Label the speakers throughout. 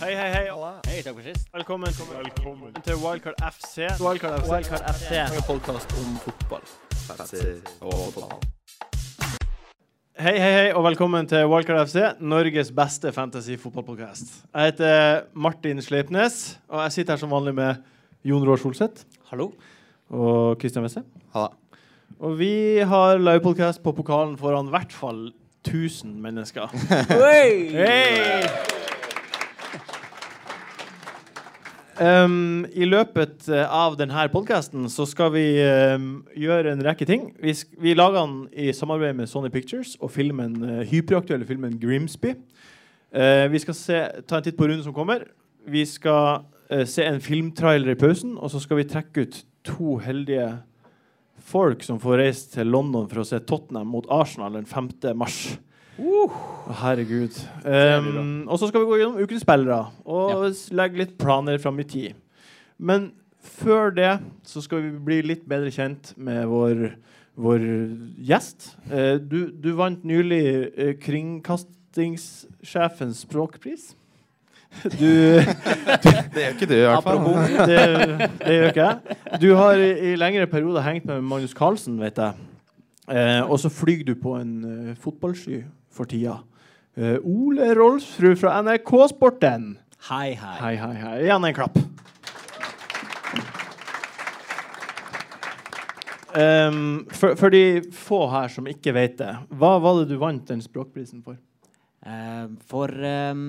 Speaker 1: Hei, hei, hei.
Speaker 2: Hei, takk for sist.
Speaker 1: Velkommen, til Wildcard FC.
Speaker 3: Wildcard FC.
Speaker 2: Wildcard FC.
Speaker 3: En podkast om fotball.
Speaker 1: Hei, hei, hei, og velkommen til Wildcard FC, Norges beste fantasy-fotballpodcast. Jeg heter Martin Sleipnes, og jeg sitter her som vanlig med Jon Roar Solseth
Speaker 2: Hallo.
Speaker 1: og Christian Wesse.
Speaker 3: Ha
Speaker 1: Og vi har livepodcast på pokalen foran i hvert fall 1000 mennesker. Hei! Um, I løpet eh, av denne podkasten så skal vi um, gjøre en rekke ting. Vi, sk vi lager den i samarbeid med Sony Pictures og filmen, eh, hyperaktuelle filmen Grimsby. Eh, vi skal se, ta en titt på runden som kommer. Vi skal eh, se en filmtrailer i pausen, og så skal vi trekke ut to heldige folk som får reist til London for å se Tottenham mot Arsenal den 5. mars. Å, Herregud. Um, og så skal vi gå gjennom ukens spillere og
Speaker 2: Ja.
Speaker 1: s- legge litt planer fram i tid. Men før det så skal vi bli litt bedre kjent med vår, vår gjest. Eh, du, du vant nylig eh, Kringkastingssjefens språkpris. Du
Speaker 3: Det er ikke det, i hvert fall.
Speaker 2: Apropos.
Speaker 1: det, det gjør ikke jeg. Du har i, i lengre perioder hengt med Magnus Carlsen, vet jeg. Eh, og så flyr du på en eh, fotballsky for tida. Eh, Ole Rolfsrud fra NRK Sporten.
Speaker 2: Hei, hei.
Speaker 1: Hei, hei, hei. Igjen en klapp. Ehm, for, for de få her som ikke vet det, hva var det du vant den språkprisen for?
Speaker 2: Eh, for ehm,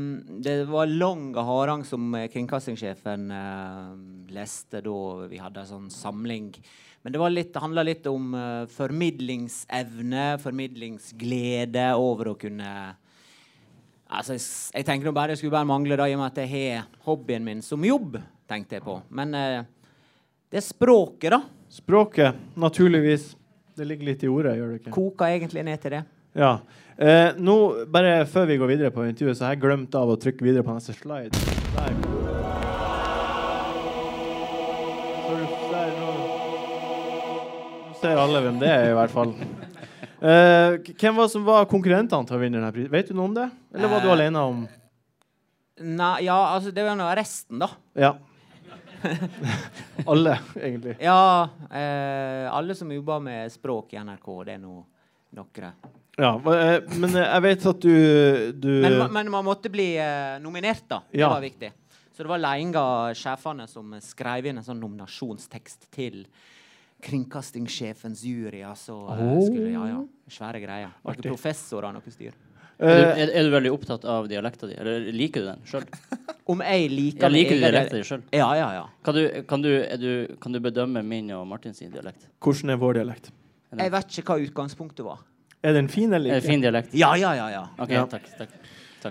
Speaker 2: det var lang harang som eh, kringkastingssjefen eh, leste da vi hadde en sånn samling. Men det var litt, det handla litt om eh, formidlingsevne, formidlingsglede over å kunne Altså, jeg, s- jeg tenker nå bare det skulle bare mangle, da, i og med at jeg har hobbyen min som jobb, tenkte jeg på. Men eh, det språket, da,
Speaker 1: Språket, naturligvis. Det ligger litt i ordet, gjør det ikke?
Speaker 2: koker egentlig ned til det.
Speaker 1: Ja. Eh, nå, bare før vi går videre på intervjuet, så har jeg glemt av å trykke videre på neste slide. Der. Så du- der nå. Nå ser alle hvem det er, i hvert fall. Eh, k- hvem var som var konkurrentene til å vinne denne prisen? Vet du noe om det? Eller var du
Speaker 2: Eh.
Speaker 1: alene om
Speaker 2: Nei, ja, altså, det var nå resten, da.
Speaker 1: Ja. alle, egentlig.
Speaker 2: Ja, eh, alle som jobber med språk i NRK, det er nå nokre.
Speaker 1: Ja, hva- eh, men eh, jeg vet at du, du
Speaker 2: Men, ma- men man måtte bli eh, nominert, da. Det
Speaker 1: Ja.
Speaker 2: var viktig. Så det var leinga sjefene som skrev inn en sånn nominasjonstekst til kringkastingssjefens jury. Altså, eh,
Speaker 1: Oh.
Speaker 2: skulle, ja, ja, svære greier. Var
Speaker 1: Artig.
Speaker 2: ikke professorer og noe styr.
Speaker 4: Er du,
Speaker 1: eh,
Speaker 4: er, er du veldig opptatt av dialekta di? Eller liker du den sjøl?
Speaker 2: Om jeg liker
Speaker 4: Jeg liker
Speaker 2: min egen-
Speaker 4: dialekten din selv.
Speaker 2: Ja, ja, ja.
Speaker 4: Kan, du- kan, du- er du- kan du bedømme min og Martin sin dialekt?
Speaker 1: Hvordan er vår dialekt?
Speaker 2: Jeg vet ikke hva utgangspunktet var.
Speaker 1: Er den fin eller
Speaker 2: Eh,
Speaker 4: Er det
Speaker 1: ikke?
Speaker 4: Eh, fin dialekt?
Speaker 2: Ja, ja, ja. ja.
Speaker 4: OK,
Speaker 1: Ja.
Speaker 4: takk. takk.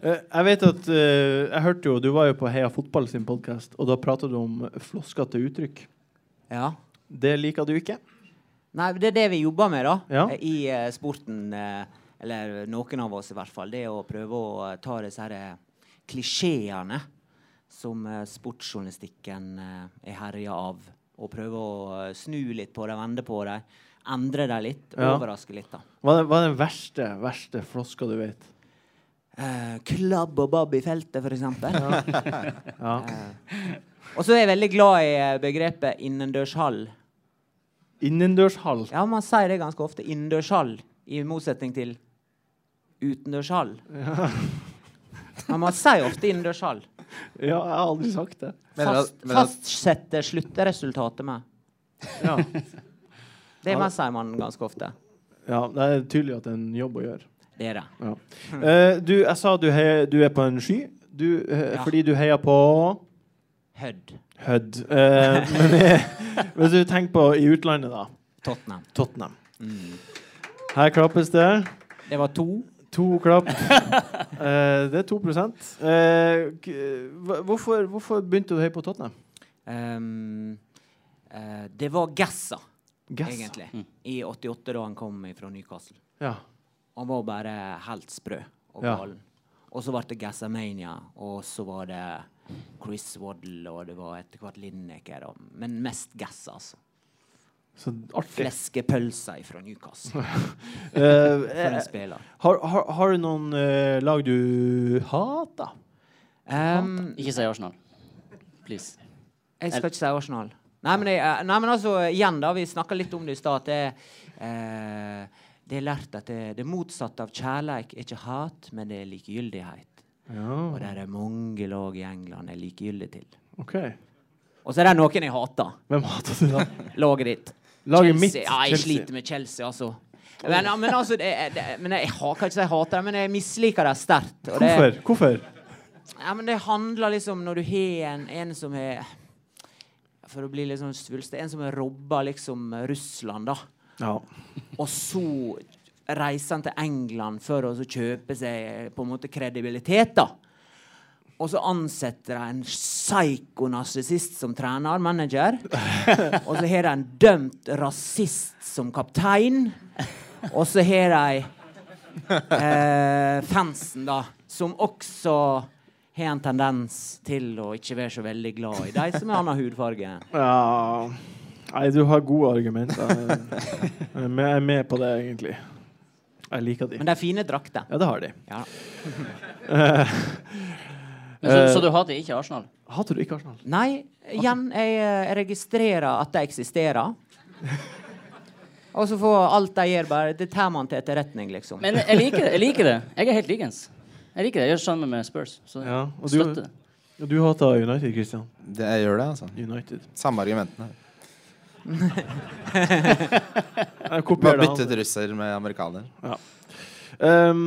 Speaker 1: Eh, Jeg vet at eh, Jeg hørte jo Du var jo på Heia Fotball sin podkast, og da prata du om floskete uttrykk.
Speaker 2: ja.
Speaker 1: Det liker du ikke?
Speaker 2: Nei, det er det vi jobber med, da.
Speaker 1: Ja.
Speaker 2: eh, I eh, sporten. eh, eller noen av oss, i hvert fall. Det er å prøve å eh, ta disse her eh, klisjeene som eh, sportsjournalistikken eh, er herja av. Og prøve å eh, snu litt på dem, vende på dem. Endre dem litt.
Speaker 1: Ja.
Speaker 2: Overraske litt, da.
Speaker 1: Hva er, hva er den verste verste floska du vet?
Speaker 2: Eh, klabb og babb i feltet, for eksempel. Eh,
Speaker 1: Ja.
Speaker 2: Og så er jeg veldig glad i eh, begrepet innendørshall.
Speaker 1: Innendørshall.
Speaker 2: Ja, man sier det ganske ofte. Innendørshall. I motsetning til utendørshall. Men man sier ofte innendørshall.
Speaker 1: Ja, jeg har aldri sagt det.
Speaker 3: Mener
Speaker 2: Fast,
Speaker 3: at- mener at-
Speaker 2: fastsette sluttresultatet med.
Speaker 1: Ja,
Speaker 2: Det man sier man ganske ofte.
Speaker 1: ja Det er tydelig at det er en jobb å gjøre.
Speaker 2: Det er det.
Speaker 1: Ja. Eh, du, jeg sa du, hei, du er på en sky du, eh,
Speaker 2: Ja.
Speaker 1: fordi du heier på
Speaker 2: Hødd.
Speaker 1: Hødd. Eh, men eh, hvis du tenker på i utlandet, da.
Speaker 2: Tottenham.
Speaker 1: Tottenham.
Speaker 2: Mm.
Speaker 1: Her klappes det.
Speaker 2: Det var to.
Speaker 1: To klapp. Eh, det er 2 Eh, k- hva- hvorfor, hvorfor begynte du høyt på Tottenham?
Speaker 2: Ehm, eh, det var Gassa,
Speaker 1: Gass.
Speaker 2: egentlig. I 88, da han kom fra Newcastle.
Speaker 1: Ja.
Speaker 2: Han var bare helt sprø og
Speaker 1: Ja.
Speaker 2: galen. Og så ble det Gassamania, og så var det Chris Waddle, og det var etter hvert Lineker. Og, men mest Gass, altså.
Speaker 1: Så eh, artig.
Speaker 2: Fleskepølser fra Newcastle
Speaker 1: Eh,
Speaker 2: for
Speaker 1: eh,
Speaker 2: en spiller.
Speaker 1: har, har, har du noen eh, lag du hater?
Speaker 2: Ehm,
Speaker 4: Ikke si Arsenal. Please.
Speaker 2: Jeg skal ikke si Arsenal. Nei, men, jeg, eh, nei, men altså, igjen, da. Vi snakka litt om det i stad. at Det, eh, det er lært at det, det motsatte av kjærleik er ikke hat, men det er likegyldighet. Og det er det mange lag i England er likegyldige til.
Speaker 1: OK.
Speaker 2: Og så er det noen jeg hater.
Speaker 1: Hvem hater du, da?
Speaker 2: Laget ditt.
Speaker 1: Laget
Speaker 2: Chelsea.
Speaker 1: mitt.
Speaker 2: Ja, jeg
Speaker 1: Chelsea.
Speaker 2: sliter med Chelsea, altså. Men, ja, men altså det, er- det, men Jeg har kan ikke si jeg hater dem, men jeg misliker dem sterkt. og det-
Speaker 1: Hvorfor? Hvorfor?
Speaker 2: Ja, men det handler liksom Når du har en, en som er For å bli litt sånn svulstig En som har robba liksom Russland, da.
Speaker 1: Ja.
Speaker 2: Og så reiser han til England for å så kjøpe seg eh, på en måte kredibilitet, da. Og så ansetter de en psykonarsissist som trener, manager. Og så har de en dømt rasist som kaptein. Og så har de eh, fansen, da, som også har en tendens til å ikke være så veldig glad i de som har annen hudfarge.
Speaker 1: ja. Nei, du har gode argumenter. Jeg er med- jeg er med på det, egentlig. Jeg liker de.
Speaker 2: Men det er fine drakter.
Speaker 1: Ja, det har de.
Speaker 2: Ja.
Speaker 4: Men så,
Speaker 1: Eh.
Speaker 4: så du hater ikke Arsenal?
Speaker 1: Hater du ikke Arsenal?
Speaker 2: Nei, igjen, jeg eh, registrerer at de eksisterer. Og så får alt de gjør, bare Det tar man til etterretning, liksom.
Speaker 4: Men jeg liker det. Jeg liker det. Jeg er helt likens. Jeg liker det. Jeg gjør det samme med Spurs. Så
Speaker 1: Ja, og du-
Speaker 4: støtter det.
Speaker 1: Ja, du hater United, Christian.
Speaker 3: Det, jeg gjør det, altså.
Speaker 1: United.
Speaker 3: Samme argumentene.
Speaker 1: Jeg
Speaker 3: Bare
Speaker 1: kopierer det.
Speaker 3: bytte
Speaker 1: han-
Speaker 3: ut russer med amerikaner.
Speaker 1: Um,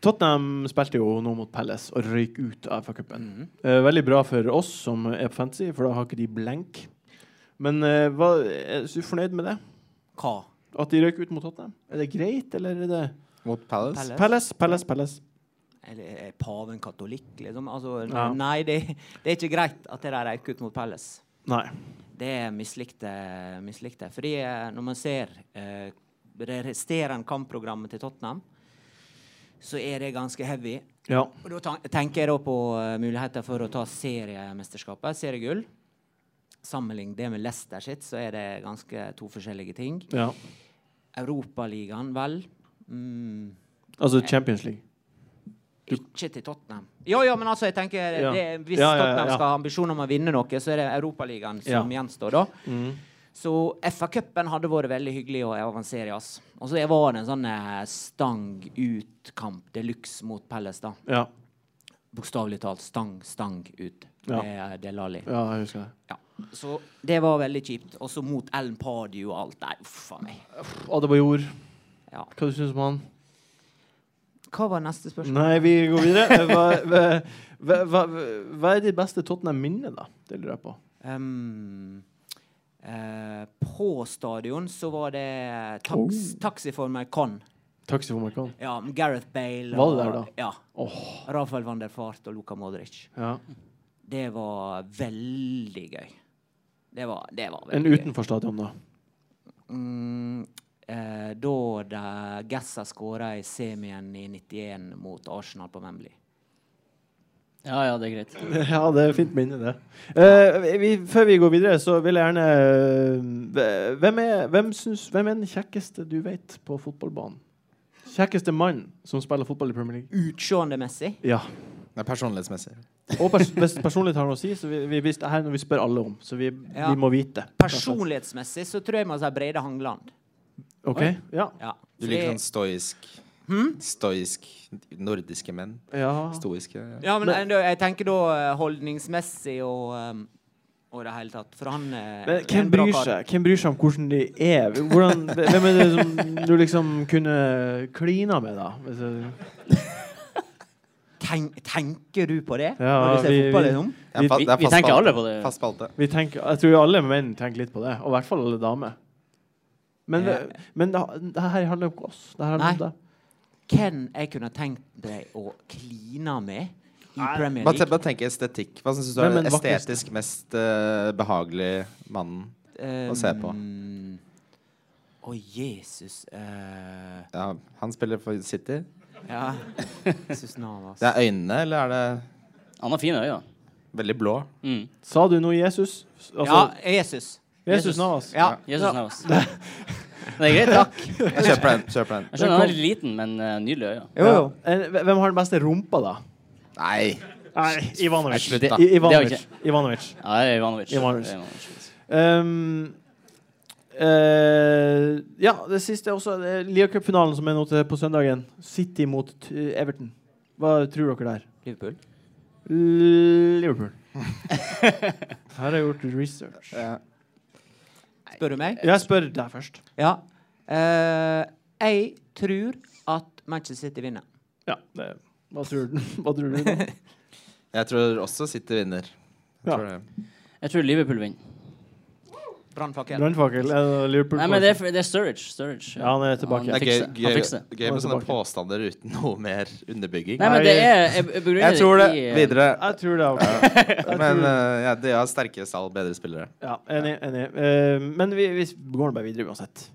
Speaker 1: Tottenham spilte jo nå mot Palace og røyk ut av FA-cupen. Eh, veldig bra for oss som er på fantasy, for da har ikke de blenk. Men eh, hva, er du fornøyd med det?
Speaker 2: Hva?
Speaker 1: At de røyk ut mot Tottenham? Er det greit, eller er det
Speaker 3: Mot Palace.
Speaker 2: Pelle?
Speaker 1: Palace, Palace, Palace.
Speaker 2: Eller er paven katolikk, liksom? Altså,
Speaker 1: Ja.
Speaker 2: Nei, det, det er ikke greit at det der røyk ut mot Pelles.
Speaker 1: Nei.
Speaker 2: Det mislikte jeg. Fordi eh, når man ser eh, det resterende kampprogrammet til Tottenham, så er det ganske heavy.
Speaker 1: Ja.
Speaker 2: Og da tan- tenker jeg da på eh, muligheter for å ta seriemesterskapet, seriegull. Sammenlign det med Leicester sitt, så er det ganske to forskjellige ting.
Speaker 1: ja.
Speaker 2: Europaligaen, vel mm,
Speaker 1: Altså Champions League.
Speaker 2: Ikke til Tottenham. Jo, jo, men altså, jeg tenker
Speaker 1: Ja.
Speaker 2: det, Hvis
Speaker 1: Ja, ja, ja,
Speaker 2: Tottenham
Speaker 1: ja.
Speaker 2: skal ha ambisjoner om å vinne noe, så er det Europaligaen som
Speaker 1: Ja. Mm.
Speaker 2: gjenstår, da. Så FA-cupen hadde vært veldig hyggelig å avansere i, ass. Og så var det en sånn eh, stang ut-kamp de luxe mot Palace, da.
Speaker 1: Ja.
Speaker 2: bokstavelig talt stang, stang ut.
Speaker 1: Ja.
Speaker 2: Det, det la litt.
Speaker 1: ja, jeg husker det.
Speaker 2: Ja. Så det var veldig kjipt. Og så mot Ellen Pardew og alt. Nei, uff a meg.
Speaker 1: Adebayor,
Speaker 2: Ja.
Speaker 1: hva du syns du om han?
Speaker 2: Hva var neste spørsmål?
Speaker 1: Nei, vi går videre. Eh, Hva, hva, hva, hva, hva er ditt beste Tottenham-minne, da? Det lurer jeg på.
Speaker 2: Um, eh, på stadion så var det
Speaker 1: Oh.
Speaker 2: taks, taxi for meg con.
Speaker 1: Taxi for Markan.
Speaker 2: Ja, med Gareth Bale
Speaker 1: Var
Speaker 2: og
Speaker 1: det der da?
Speaker 2: Ja.
Speaker 1: Åh.
Speaker 2: Rafael van der Fart og Luka Modric.
Speaker 1: Ja.
Speaker 2: Det var veldig gøy. Det var, det var
Speaker 1: En
Speaker 2: veldig gøy.
Speaker 1: utenfor stadion, da.
Speaker 2: Mm, eh, da de- Gassa skåra i semien i 91 mot Arsenal på Wembley.
Speaker 4: Ja, ja, det er greit.
Speaker 1: Ja, det er fint minne, det. Eh, vi, før vi går videre, så vil jeg gjerne eh, Hvem er, hvem, syns, hvem er den kjekkeste du vet på fotballbanen? Kjekkeste mann som spiller fotball i Premier League?
Speaker 2: Utseendemessig
Speaker 1: Ja.
Speaker 3: Det er personlighetsmessig.
Speaker 1: Og pers hvis personlig tar noe å si, så vi, vi, hvis, det her er noe vi spør alle om. Så vi,
Speaker 2: Ja.
Speaker 1: vi må vite.
Speaker 2: Personlighetsmessig så tror jeg man sier Brede Hangeland.
Speaker 1: OK? Ja.
Speaker 2: Ja.
Speaker 3: Du
Speaker 2: Fordi-
Speaker 3: liker sånn stoisk Stoisk nordiske menn.
Speaker 1: ja.
Speaker 3: Stoiske.
Speaker 2: Ja, men, eh, da- jeg tenker da eh, holdningsmessig og um, og det hele tatt. For han eh, er
Speaker 1: Men
Speaker 2: en
Speaker 1: hvem
Speaker 2: bra
Speaker 1: bryr
Speaker 2: kar.
Speaker 1: seg Hvem bryr seg om hvordan de er? Hvordan, hvem er det som du liksom kunne klina med, da? Hvis jeg-
Speaker 2: Tenk, tenker du på det?
Speaker 1: Ja,
Speaker 2: når du ser
Speaker 1: vi-
Speaker 2: fotball,
Speaker 1: vi-
Speaker 2: liksom?
Speaker 3: Ja, fa-
Speaker 4: Vi-
Speaker 3: det er
Speaker 4: vi
Speaker 3: fast
Speaker 4: tenker
Speaker 3: spalte.
Speaker 4: alle på det.
Speaker 3: Fast spalte.
Speaker 1: Vi tenker, jeg tror alle menn tenker litt på det, og i hvert fall alle damer. Men,
Speaker 2: Ja.
Speaker 1: men det, det her handler jo ikke om oss. Det her handler om
Speaker 2: Nei.
Speaker 1: deg.
Speaker 2: Hvem jeg kunne tenkt deg å kline med i Premier
Speaker 3: Bare, te-
Speaker 2: League?
Speaker 3: bare tenk estetikk. Hva syns du
Speaker 1: Hvem
Speaker 3: er
Speaker 1: er
Speaker 3: den
Speaker 1: den vakreste?
Speaker 3: estetisk mest eh, behagelige mannen?
Speaker 2: Å
Speaker 3: se på.
Speaker 2: Å, Jesus. eh,
Speaker 3: Ja, han spiller for City.
Speaker 2: Ja. Jesus Navas.
Speaker 3: Det er øynene, eller er det
Speaker 4: Han har fine øyne.
Speaker 3: veldig blå?
Speaker 4: Mm.
Speaker 1: Sa du noe Jesus? Altså,
Speaker 2: ja, Jesus.
Speaker 1: Jesus Navas.
Speaker 2: Ja.
Speaker 4: Jesus
Speaker 2: Ja.
Speaker 4: Navas. Det er greit. Takk.
Speaker 3: Jeg kjøper den. Kjøper den.
Speaker 4: Jeg eh, skjønner han er litt liten, men uh, nydelige øyne.
Speaker 2: Jo, jo.
Speaker 1: En- Hvem har den beste rumpa, da?
Speaker 3: Nei,
Speaker 1: Nei, Ivanovic.
Speaker 3: Nei, slutt, da.
Speaker 1: I,
Speaker 4: Det
Speaker 1: Ivanovic.
Speaker 4: er
Speaker 1: Ivanovic.
Speaker 4: Ja, det er Ivanovic.
Speaker 1: Ivanovic.
Speaker 4: Det er Ivanovic.
Speaker 1: Ehm, eh, ja, det siste er også eh, Lia Cup-finalen som er nå til på søndagen. City mot eh, Everton. Hva tror dere der?
Speaker 2: Liverpool.
Speaker 1: Liverpool. Her har jeg gjort research.
Speaker 2: Spør du meg?
Speaker 1: Jeg spør deg først.
Speaker 2: Ja. Eh, jeg tror at Manchester City vinner.
Speaker 1: Ja, det, hva, tror du, hva tror du? da?
Speaker 3: Jeg tror også City vinner. Jeg
Speaker 1: Ja.
Speaker 3: tror det.
Speaker 4: Jeg tror Liverpool vinner.
Speaker 2: Brannfakkel.
Speaker 1: Brannfakkel? er det Liverpool?
Speaker 4: Nei, men det er, det er Sturridge. Sturridge.
Speaker 1: Ja, han er tilbake.
Speaker 3: Det er
Speaker 4: fikser
Speaker 3: gøy,
Speaker 4: det. Han fikser det.
Speaker 3: gøy, gøy
Speaker 1: Han er
Speaker 3: med sånne
Speaker 1: tilbake.
Speaker 3: påstander uten noe mer underbygging.
Speaker 4: Nei, men det er Jeg, jeg begrunner
Speaker 3: Jeg tror det.
Speaker 4: i, eh,
Speaker 3: Videre.
Speaker 1: Jeg tror det. Også.
Speaker 3: Men eh, ja, de har sterke salg, bedre spillere.
Speaker 1: Ja, enig. enig. Eh, men vi, vi går bare videre uansett.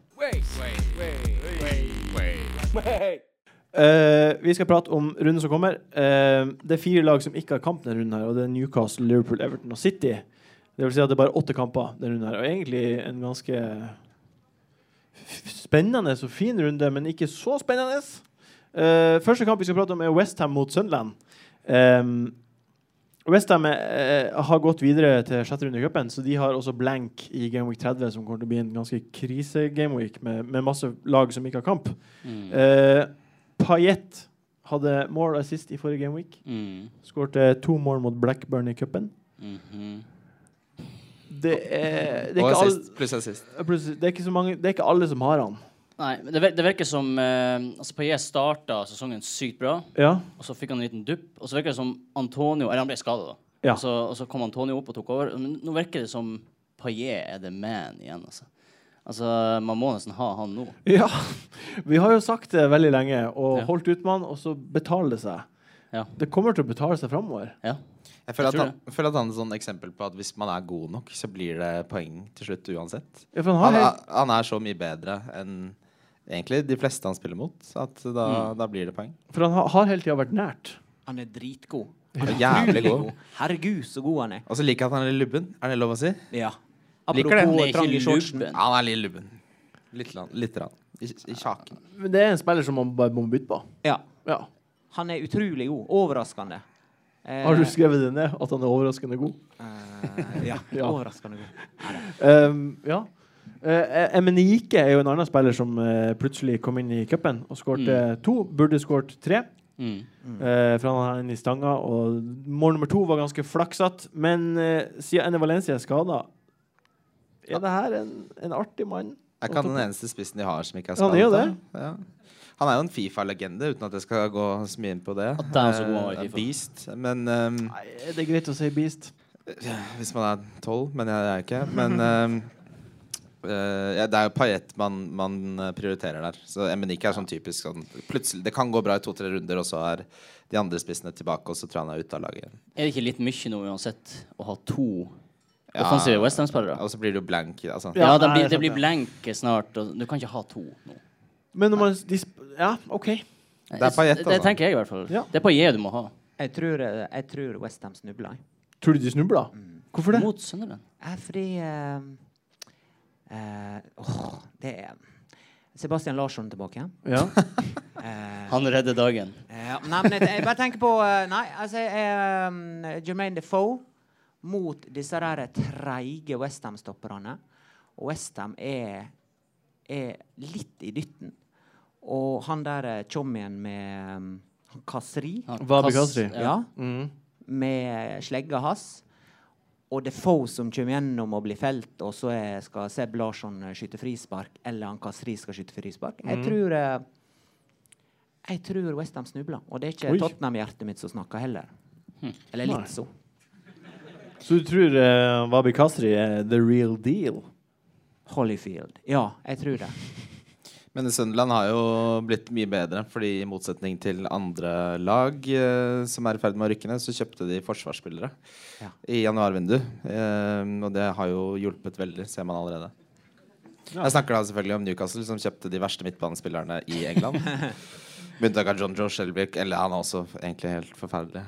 Speaker 1: Eh, vi skal prate om runden som kommer. Eh, det er fire lag som ikke har kamp denne runden, her og det er Newcastle, Liverpool, Everton og City. Det vil si at det er bare åtte kamper denne runden. her Og egentlig en ganske f- spennende og fin runde, men ikke så spennende. Eh, første kamp vi skal prate om, er Westham mot Sunderland. Um, Westham eh, har gått videre til sjette runde i cupen, så de har også blank i Gameweek 30, som kommer til å bli en ganske krise-gameweek med, med masse lag som ikke har kamp.
Speaker 4: Mm.
Speaker 1: Eh, Payet hadde mål og assist i forrige gameweek.
Speaker 4: Mm.
Speaker 1: Skårte to mål mot Blackburn i cupen.
Speaker 4: Mhm.
Speaker 1: Det er, det, er
Speaker 3: Og
Speaker 1: ikke
Speaker 3: assist, pluss assist.
Speaker 1: alle- plutselig- det er ikke så mange Det er ikke alle som har han.
Speaker 4: Nei, men det, vir- det virker som eh, altså Paillet starta sesongen sykt bra,
Speaker 1: Ja,
Speaker 4: og så fikk han en liten dupp. Og så virker det som Antonio Eller han ble skada, da.
Speaker 1: Ja.
Speaker 4: Og, så, og så kom Antonio opp og tok over. Men nå virker det som Paillet er the man igjen, altså. Altså, Man må nesten ha han nå.
Speaker 1: ja. Vi har jo sagt det veldig lenge og
Speaker 4: Ja.
Speaker 1: holdt ut med han, og så betaler det seg.
Speaker 4: Ja.
Speaker 1: Det kommer til å betale seg framover.
Speaker 4: Ja.
Speaker 3: Jeg føler,
Speaker 4: Jeg tror
Speaker 3: at han, jeg føler at han er et sånt eksempel på at hvis man er god nok, så blir det poeng til slutt uansett.
Speaker 1: Ja, for han har
Speaker 3: Han er,
Speaker 1: helt-
Speaker 3: han er så mye bedre enn egentlig de fleste han spiller mot, at da,
Speaker 4: Mm.
Speaker 3: da blir det poeng.
Speaker 1: for han har, har hele tida vært nært.
Speaker 2: Han er dritgod.
Speaker 3: Han er jævlig god.
Speaker 2: Herregud, så god han er.
Speaker 3: Og så liker jeg at han er litt lubben. Er det lov å si?
Speaker 2: Ja.
Speaker 4: Liker det. Han er
Speaker 2: Apropos
Speaker 4: ikke
Speaker 2: trang i shortsen.
Speaker 4: lubben.
Speaker 3: han er litt lubben. Litt. Rann, litt rann. I, I kjaken.
Speaker 1: Men det er en spiller som man bare må bytte på.
Speaker 2: Ja.
Speaker 1: Ja.
Speaker 2: Han er utrolig god. Overraskende. Eh,
Speaker 1: Har du skrevet det ned, at han er overraskende god?
Speaker 2: eh, ja.
Speaker 1: Ja.
Speaker 2: Overraskende god.
Speaker 1: Um, ja. Uh, Emenike er jo en annen spiller som eh, plutselig kom inn i cupen og skårte to. Burde skåret tre,
Speaker 4: Mm.
Speaker 1: eh, for han er inne i stanga. Og mål nummer to var ganske flaksete, men eh, siden Enne Valencia er skada Er det her en, en artig mann?
Speaker 3: Er ikke han den eneste spissen de har som ikke er
Speaker 1: Han er jo
Speaker 3: skadet, da? Ja. Han er jo en Fifa-legende, uten at jeg skal gå så mye inn på det.
Speaker 4: At han er så god han var i
Speaker 3: Eh,
Speaker 4: FIFA.
Speaker 3: Beast. Men ehm,
Speaker 1: Nei, er det greit å si beast?
Speaker 3: Hvis man er tolv, men jeg er ikke. Men eh, eh, ja, det er jo Paillette man, man eh, prioriterer der. Så Emenike er sånn typisk sånn plutselig, Det kan gå bra i to-tre runder, og så er de andre spissene tilbake, og så tror jeg han er ute av laget igjen.
Speaker 4: Er det ikke litt mye nå uansett å ha to
Speaker 3: Ja.
Speaker 4: offensive West Ham-spillere?
Speaker 3: Og så blir det jo blank. Altså.
Speaker 1: Ja,
Speaker 4: Ja, de
Speaker 1: nei,
Speaker 4: blir-
Speaker 1: sant,
Speaker 4: det blir
Speaker 1: ja.
Speaker 4: blank snart. Og du kan ikke ha to nå.
Speaker 1: Men når man de sp Ja, OK.
Speaker 4: Det
Speaker 3: er Payet,
Speaker 4: Det
Speaker 3: altså.
Speaker 4: tenker jeg i hvert fall.
Speaker 1: Ja.
Speaker 4: Det er Paillet du må ha.
Speaker 2: Jeg tror, eh, jeg tror Westham snubler. jeg.
Speaker 1: Tror du de snubla? Hvorfor det?
Speaker 4: Mot Sunderland.
Speaker 2: Eh, fordi eh, eh, åh, Det er Sebastian Larsson tilbake.
Speaker 1: Ja.
Speaker 2: Eh,
Speaker 4: Han redder dagen.
Speaker 2: eh, nei, men jeg, jeg bare tenker på eh, Nei, altså eh, um, Jermaine Defoe mot disse der treige Westham-stopperne. Og Westham er, er litt i dytten. Og han der eh, chommien med um, han Kasri
Speaker 4: Han-
Speaker 1: Wabi
Speaker 4: Kass-
Speaker 1: Kasri.
Speaker 4: Ja.
Speaker 2: ja,
Speaker 1: Mm.
Speaker 2: med slegga hans. Og Defoe som kommer gjennom og blir felt, og så er, skal Seb Larsson eh, skyte frispark, eller han Kasri skal skyte frispark.
Speaker 1: Mm.
Speaker 2: Jeg tror eh, Jeg tror Westham snubler. Og det er ikke
Speaker 1: Oi.
Speaker 2: Tottenham-hjertet mitt som snakker heller. Eller
Speaker 1: Nei.
Speaker 2: litt så.
Speaker 1: Så du tror eh, Wabi Kasri er the real deal?
Speaker 2: Holyfield. Ja, jeg tror det.
Speaker 3: Men Sunderland har jo blitt mye bedre, fordi i motsetning til andre lag eh, som er i ferd med å rykke ned, så kjøpte de forsvarsspillere
Speaker 2: Ja.
Speaker 3: i januarvindu. Eh, og det har jo hjulpet veldig, ser man allerede. Jeg snakker da selvfølgelig om Newcastle, som kjøpte de verste midtbanespillerne i England. Med unntak av John Joe Shelby. Eller han er også egentlig helt forferdelig.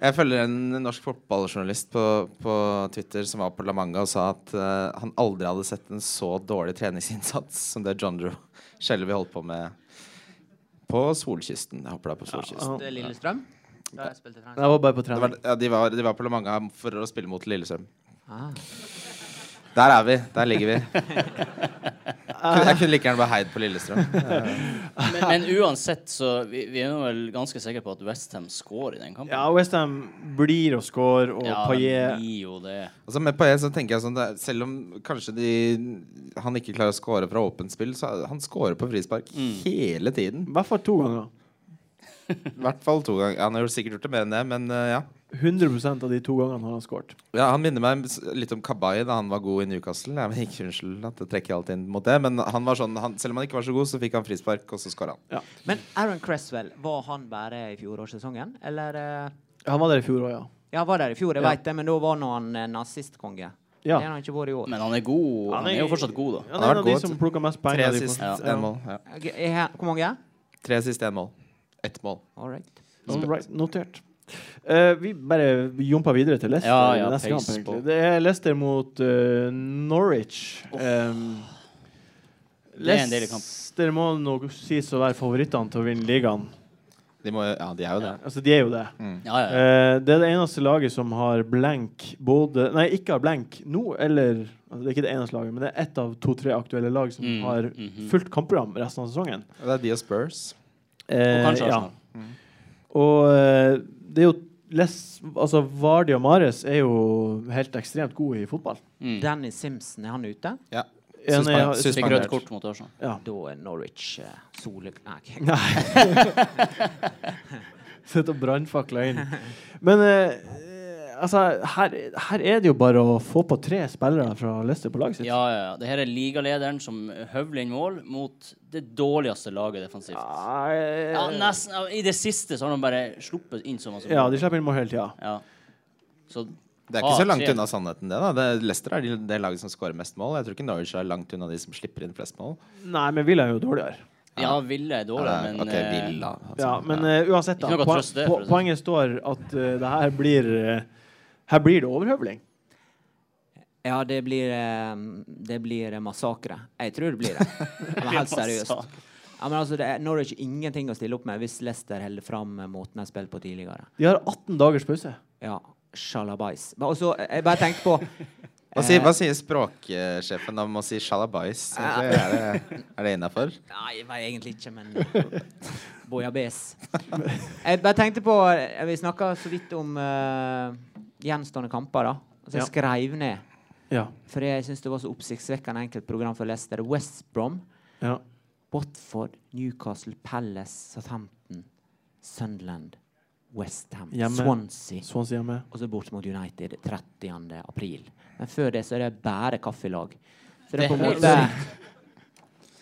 Speaker 3: Jeg følger en norsk fotballjournalist på, på Twitter som var på La Manga og sa at eh, han aldri hadde sett en så dårlig treningsinnsats som det John Joe Shelby holdt på med på solkysten. Jeg håper det er på solkysten.
Speaker 2: Lillestrøm? Da jeg spilte trening.
Speaker 1: Jeg var bare på
Speaker 3: Det
Speaker 1: trening.
Speaker 3: var, ja, de, var, de var på La Manga for å spille mot Lillestrøm.
Speaker 2: Ah.
Speaker 3: Der er vi. Der ligger vi. Jeg kunne like gjerne bare heid på Lillestrøm.
Speaker 4: Men, men uansett, så vi, vi er nå vel ganske sikre på at Westham scorer i den kampen.
Speaker 1: Ja, Westham blir å score, og
Speaker 4: Ja, det
Speaker 1: Paillet
Speaker 4: blir jo det.
Speaker 3: Altså med Paillet så tenker jeg sånn det er, Selv om kanskje de, han ikke klarer å score fra åpent spill, så er- han scorer på frispark hele tiden.
Speaker 1: I hvert fall to ganger.
Speaker 3: I hvert fall to ganger. Han har jo sikkert gjort det mer enn det, men eh, ja.
Speaker 1: 100 av de to gangene har han scoret.
Speaker 3: ja. Han minner meg s- litt om Kabay da han var god i Newcastle. Jeg men ikke Unnskyld at jeg trekker alt inn mot det, men han var sånn, han, selv om han ikke var så god, så fikk han frispark, og så skåra han.
Speaker 2: Men Aaron Cresswell, var han bare i fjorårssesongen? Eller eh,
Speaker 1: Han var der i fjor òg, ja.
Speaker 2: Ja, han var der i fjor, jeg
Speaker 1: Ja.
Speaker 2: vet det, men da var nå han eh, nazistkonge.
Speaker 1: Ja.
Speaker 2: Det er han ikke vært i år.
Speaker 4: Men han er god. Han er jo fortsatt god, da.
Speaker 1: Han er en av de
Speaker 3: god.
Speaker 1: som plukker mest poeng.
Speaker 3: Tre
Speaker 1: av de
Speaker 3: sist,
Speaker 1: på-
Speaker 3: én mål. Ja.
Speaker 2: Ok, er han- Hvor mange?
Speaker 3: Tre sist, én mål. Ett mål.
Speaker 2: All right.
Speaker 1: All
Speaker 4: Mm.
Speaker 1: right, notert. Eh, vi bare jumper videre til Leicester.
Speaker 4: Ja, ja,
Speaker 1: neste kamp,
Speaker 4: pace på.
Speaker 1: egentlig. Det er Leicester mot eh, Norwich. Um,
Speaker 4: Det er en deilig kamp.
Speaker 1: Leicester må nok sies å være favorittene til å vinne ligaen.
Speaker 3: De må, ja, de er jo det.
Speaker 1: Altså, de er jo det.
Speaker 4: Ja, ja.
Speaker 1: Eh, det er det eneste laget som har blank både Nei, ikke har blank nå, eller altså, Det er ikke det eneste laget, men det er ett av to-tre aktuelle lag som
Speaker 4: Mm,
Speaker 1: har
Speaker 4: mhm.
Speaker 1: fullt kampprogram resten av sesongen.
Speaker 3: Det er de og Spurs.
Speaker 1: Eh,
Speaker 4: Og kanskje
Speaker 1: ja.
Speaker 4: Arsenal.
Speaker 1: Og eh, det er jo Les, altså Vardi og Mares er jo helt ekstremt gode i fotball.
Speaker 4: Mm.
Speaker 2: Danny Simpson, er han ute?
Speaker 3: Ja.
Speaker 1: En er-
Speaker 3: Suspend-
Speaker 4: Fikk
Speaker 3: suspendert.
Speaker 4: rødt kort mot Arsenal.
Speaker 1: Ja.
Speaker 2: Da er Norwich eh, sole... Nei, ok.
Speaker 1: Nei. Sitter og brannfakler inn. Men eh, altså, her, her er det jo bare å få på tre spillere fra Leicester på laget sitt.
Speaker 4: Ja, ja. ja. Det her er ligalederen som høvler inn mål mot det dårligste laget defensivt. Ja,
Speaker 1: Ja,
Speaker 4: nesten. Ja, I det siste så har de bare sluppet inn så masse
Speaker 1: Eh,
Speaker 4: mål.
Speaker 1: ja, de slipper inn mål hele tida.
Speaker 4: Ja. Så
Speaker 3: Det er
Speaker 4: Ah,
Speaker 3: ikke så langt
Speaker 4: tre.
Speaker 3: unna altså. sannheten, det. da det, Leicester er det, det laget som scorer mest mål. Jeg tror ikke Norwich er langt unna de som slipper inn flest mål.
Speaker 1: Nei, men Villa er jo dårligere.
Speaker 4: Ja, Ville er dårlig,
Speaker 3: Eh,
Speaker 4: men
Speaker 3: ok,
Speaker 4: eh,
Speaker 3: Villa, altså.
Speaker 1: Ja, men eh, uansett, da.
Speaker 4: Ikke noe å
Speaker 1: poen-
Speaker 4: trøste,
Speaker 1: po
Speaker 4: for å si det sånn.
Speaker 1: poenget står at eh, det her blir eh, Her blir det overhøvling.
Speaker 2: Ja, det blir, eh, det blir eh, massakre. Jeg tror det blir det. Jeg var helt seriøst.
Speaker 4: massakre.
Speaker 2: Ja, men altså, det er Norwich ingenting å stille opp med hvis Leicester holder fram med måten de har spilt på tidligere.
Speaker 1: De har 18 dagers pause.
Speaker 2: Ja, sjalabais. Men også, eh, jeg bare tenkte på eh,
Speaker 3: Hva sier, hva sier språksjefen om å si 'shalabais'? egentlig? Er det, er det innafor?
Speaker 2: Nei, jeg vet egentlig ikke, men Bojabes. Jeg bare tenkte på eh, Vi snakka så vidt om eh, gjenstående kamper, da. Så jeg
Speaker 1: Ja.
Speaker 2: skrev ned,
Speaker 1: Ja.
Speaker 2: for jeg syns det var så oppsiktsvekkende enkelt program for Leicester. West Brom,
Speaker 1: ja.
Speaker 2: Watford, Newcastle, Palace, Southampton, Sunderland, Westham,
Speaker 1: Hjemme.
Speaker 2: Swansea.
Speaker 1: Swansea hjemme.
Speaker 2: Og så bort mot United 30. april. Men før det så er det bare kaffelag. Så det er
Speaker 4: Det
Speaker 2: på en
Speaker 4: er
Speaker 2: måte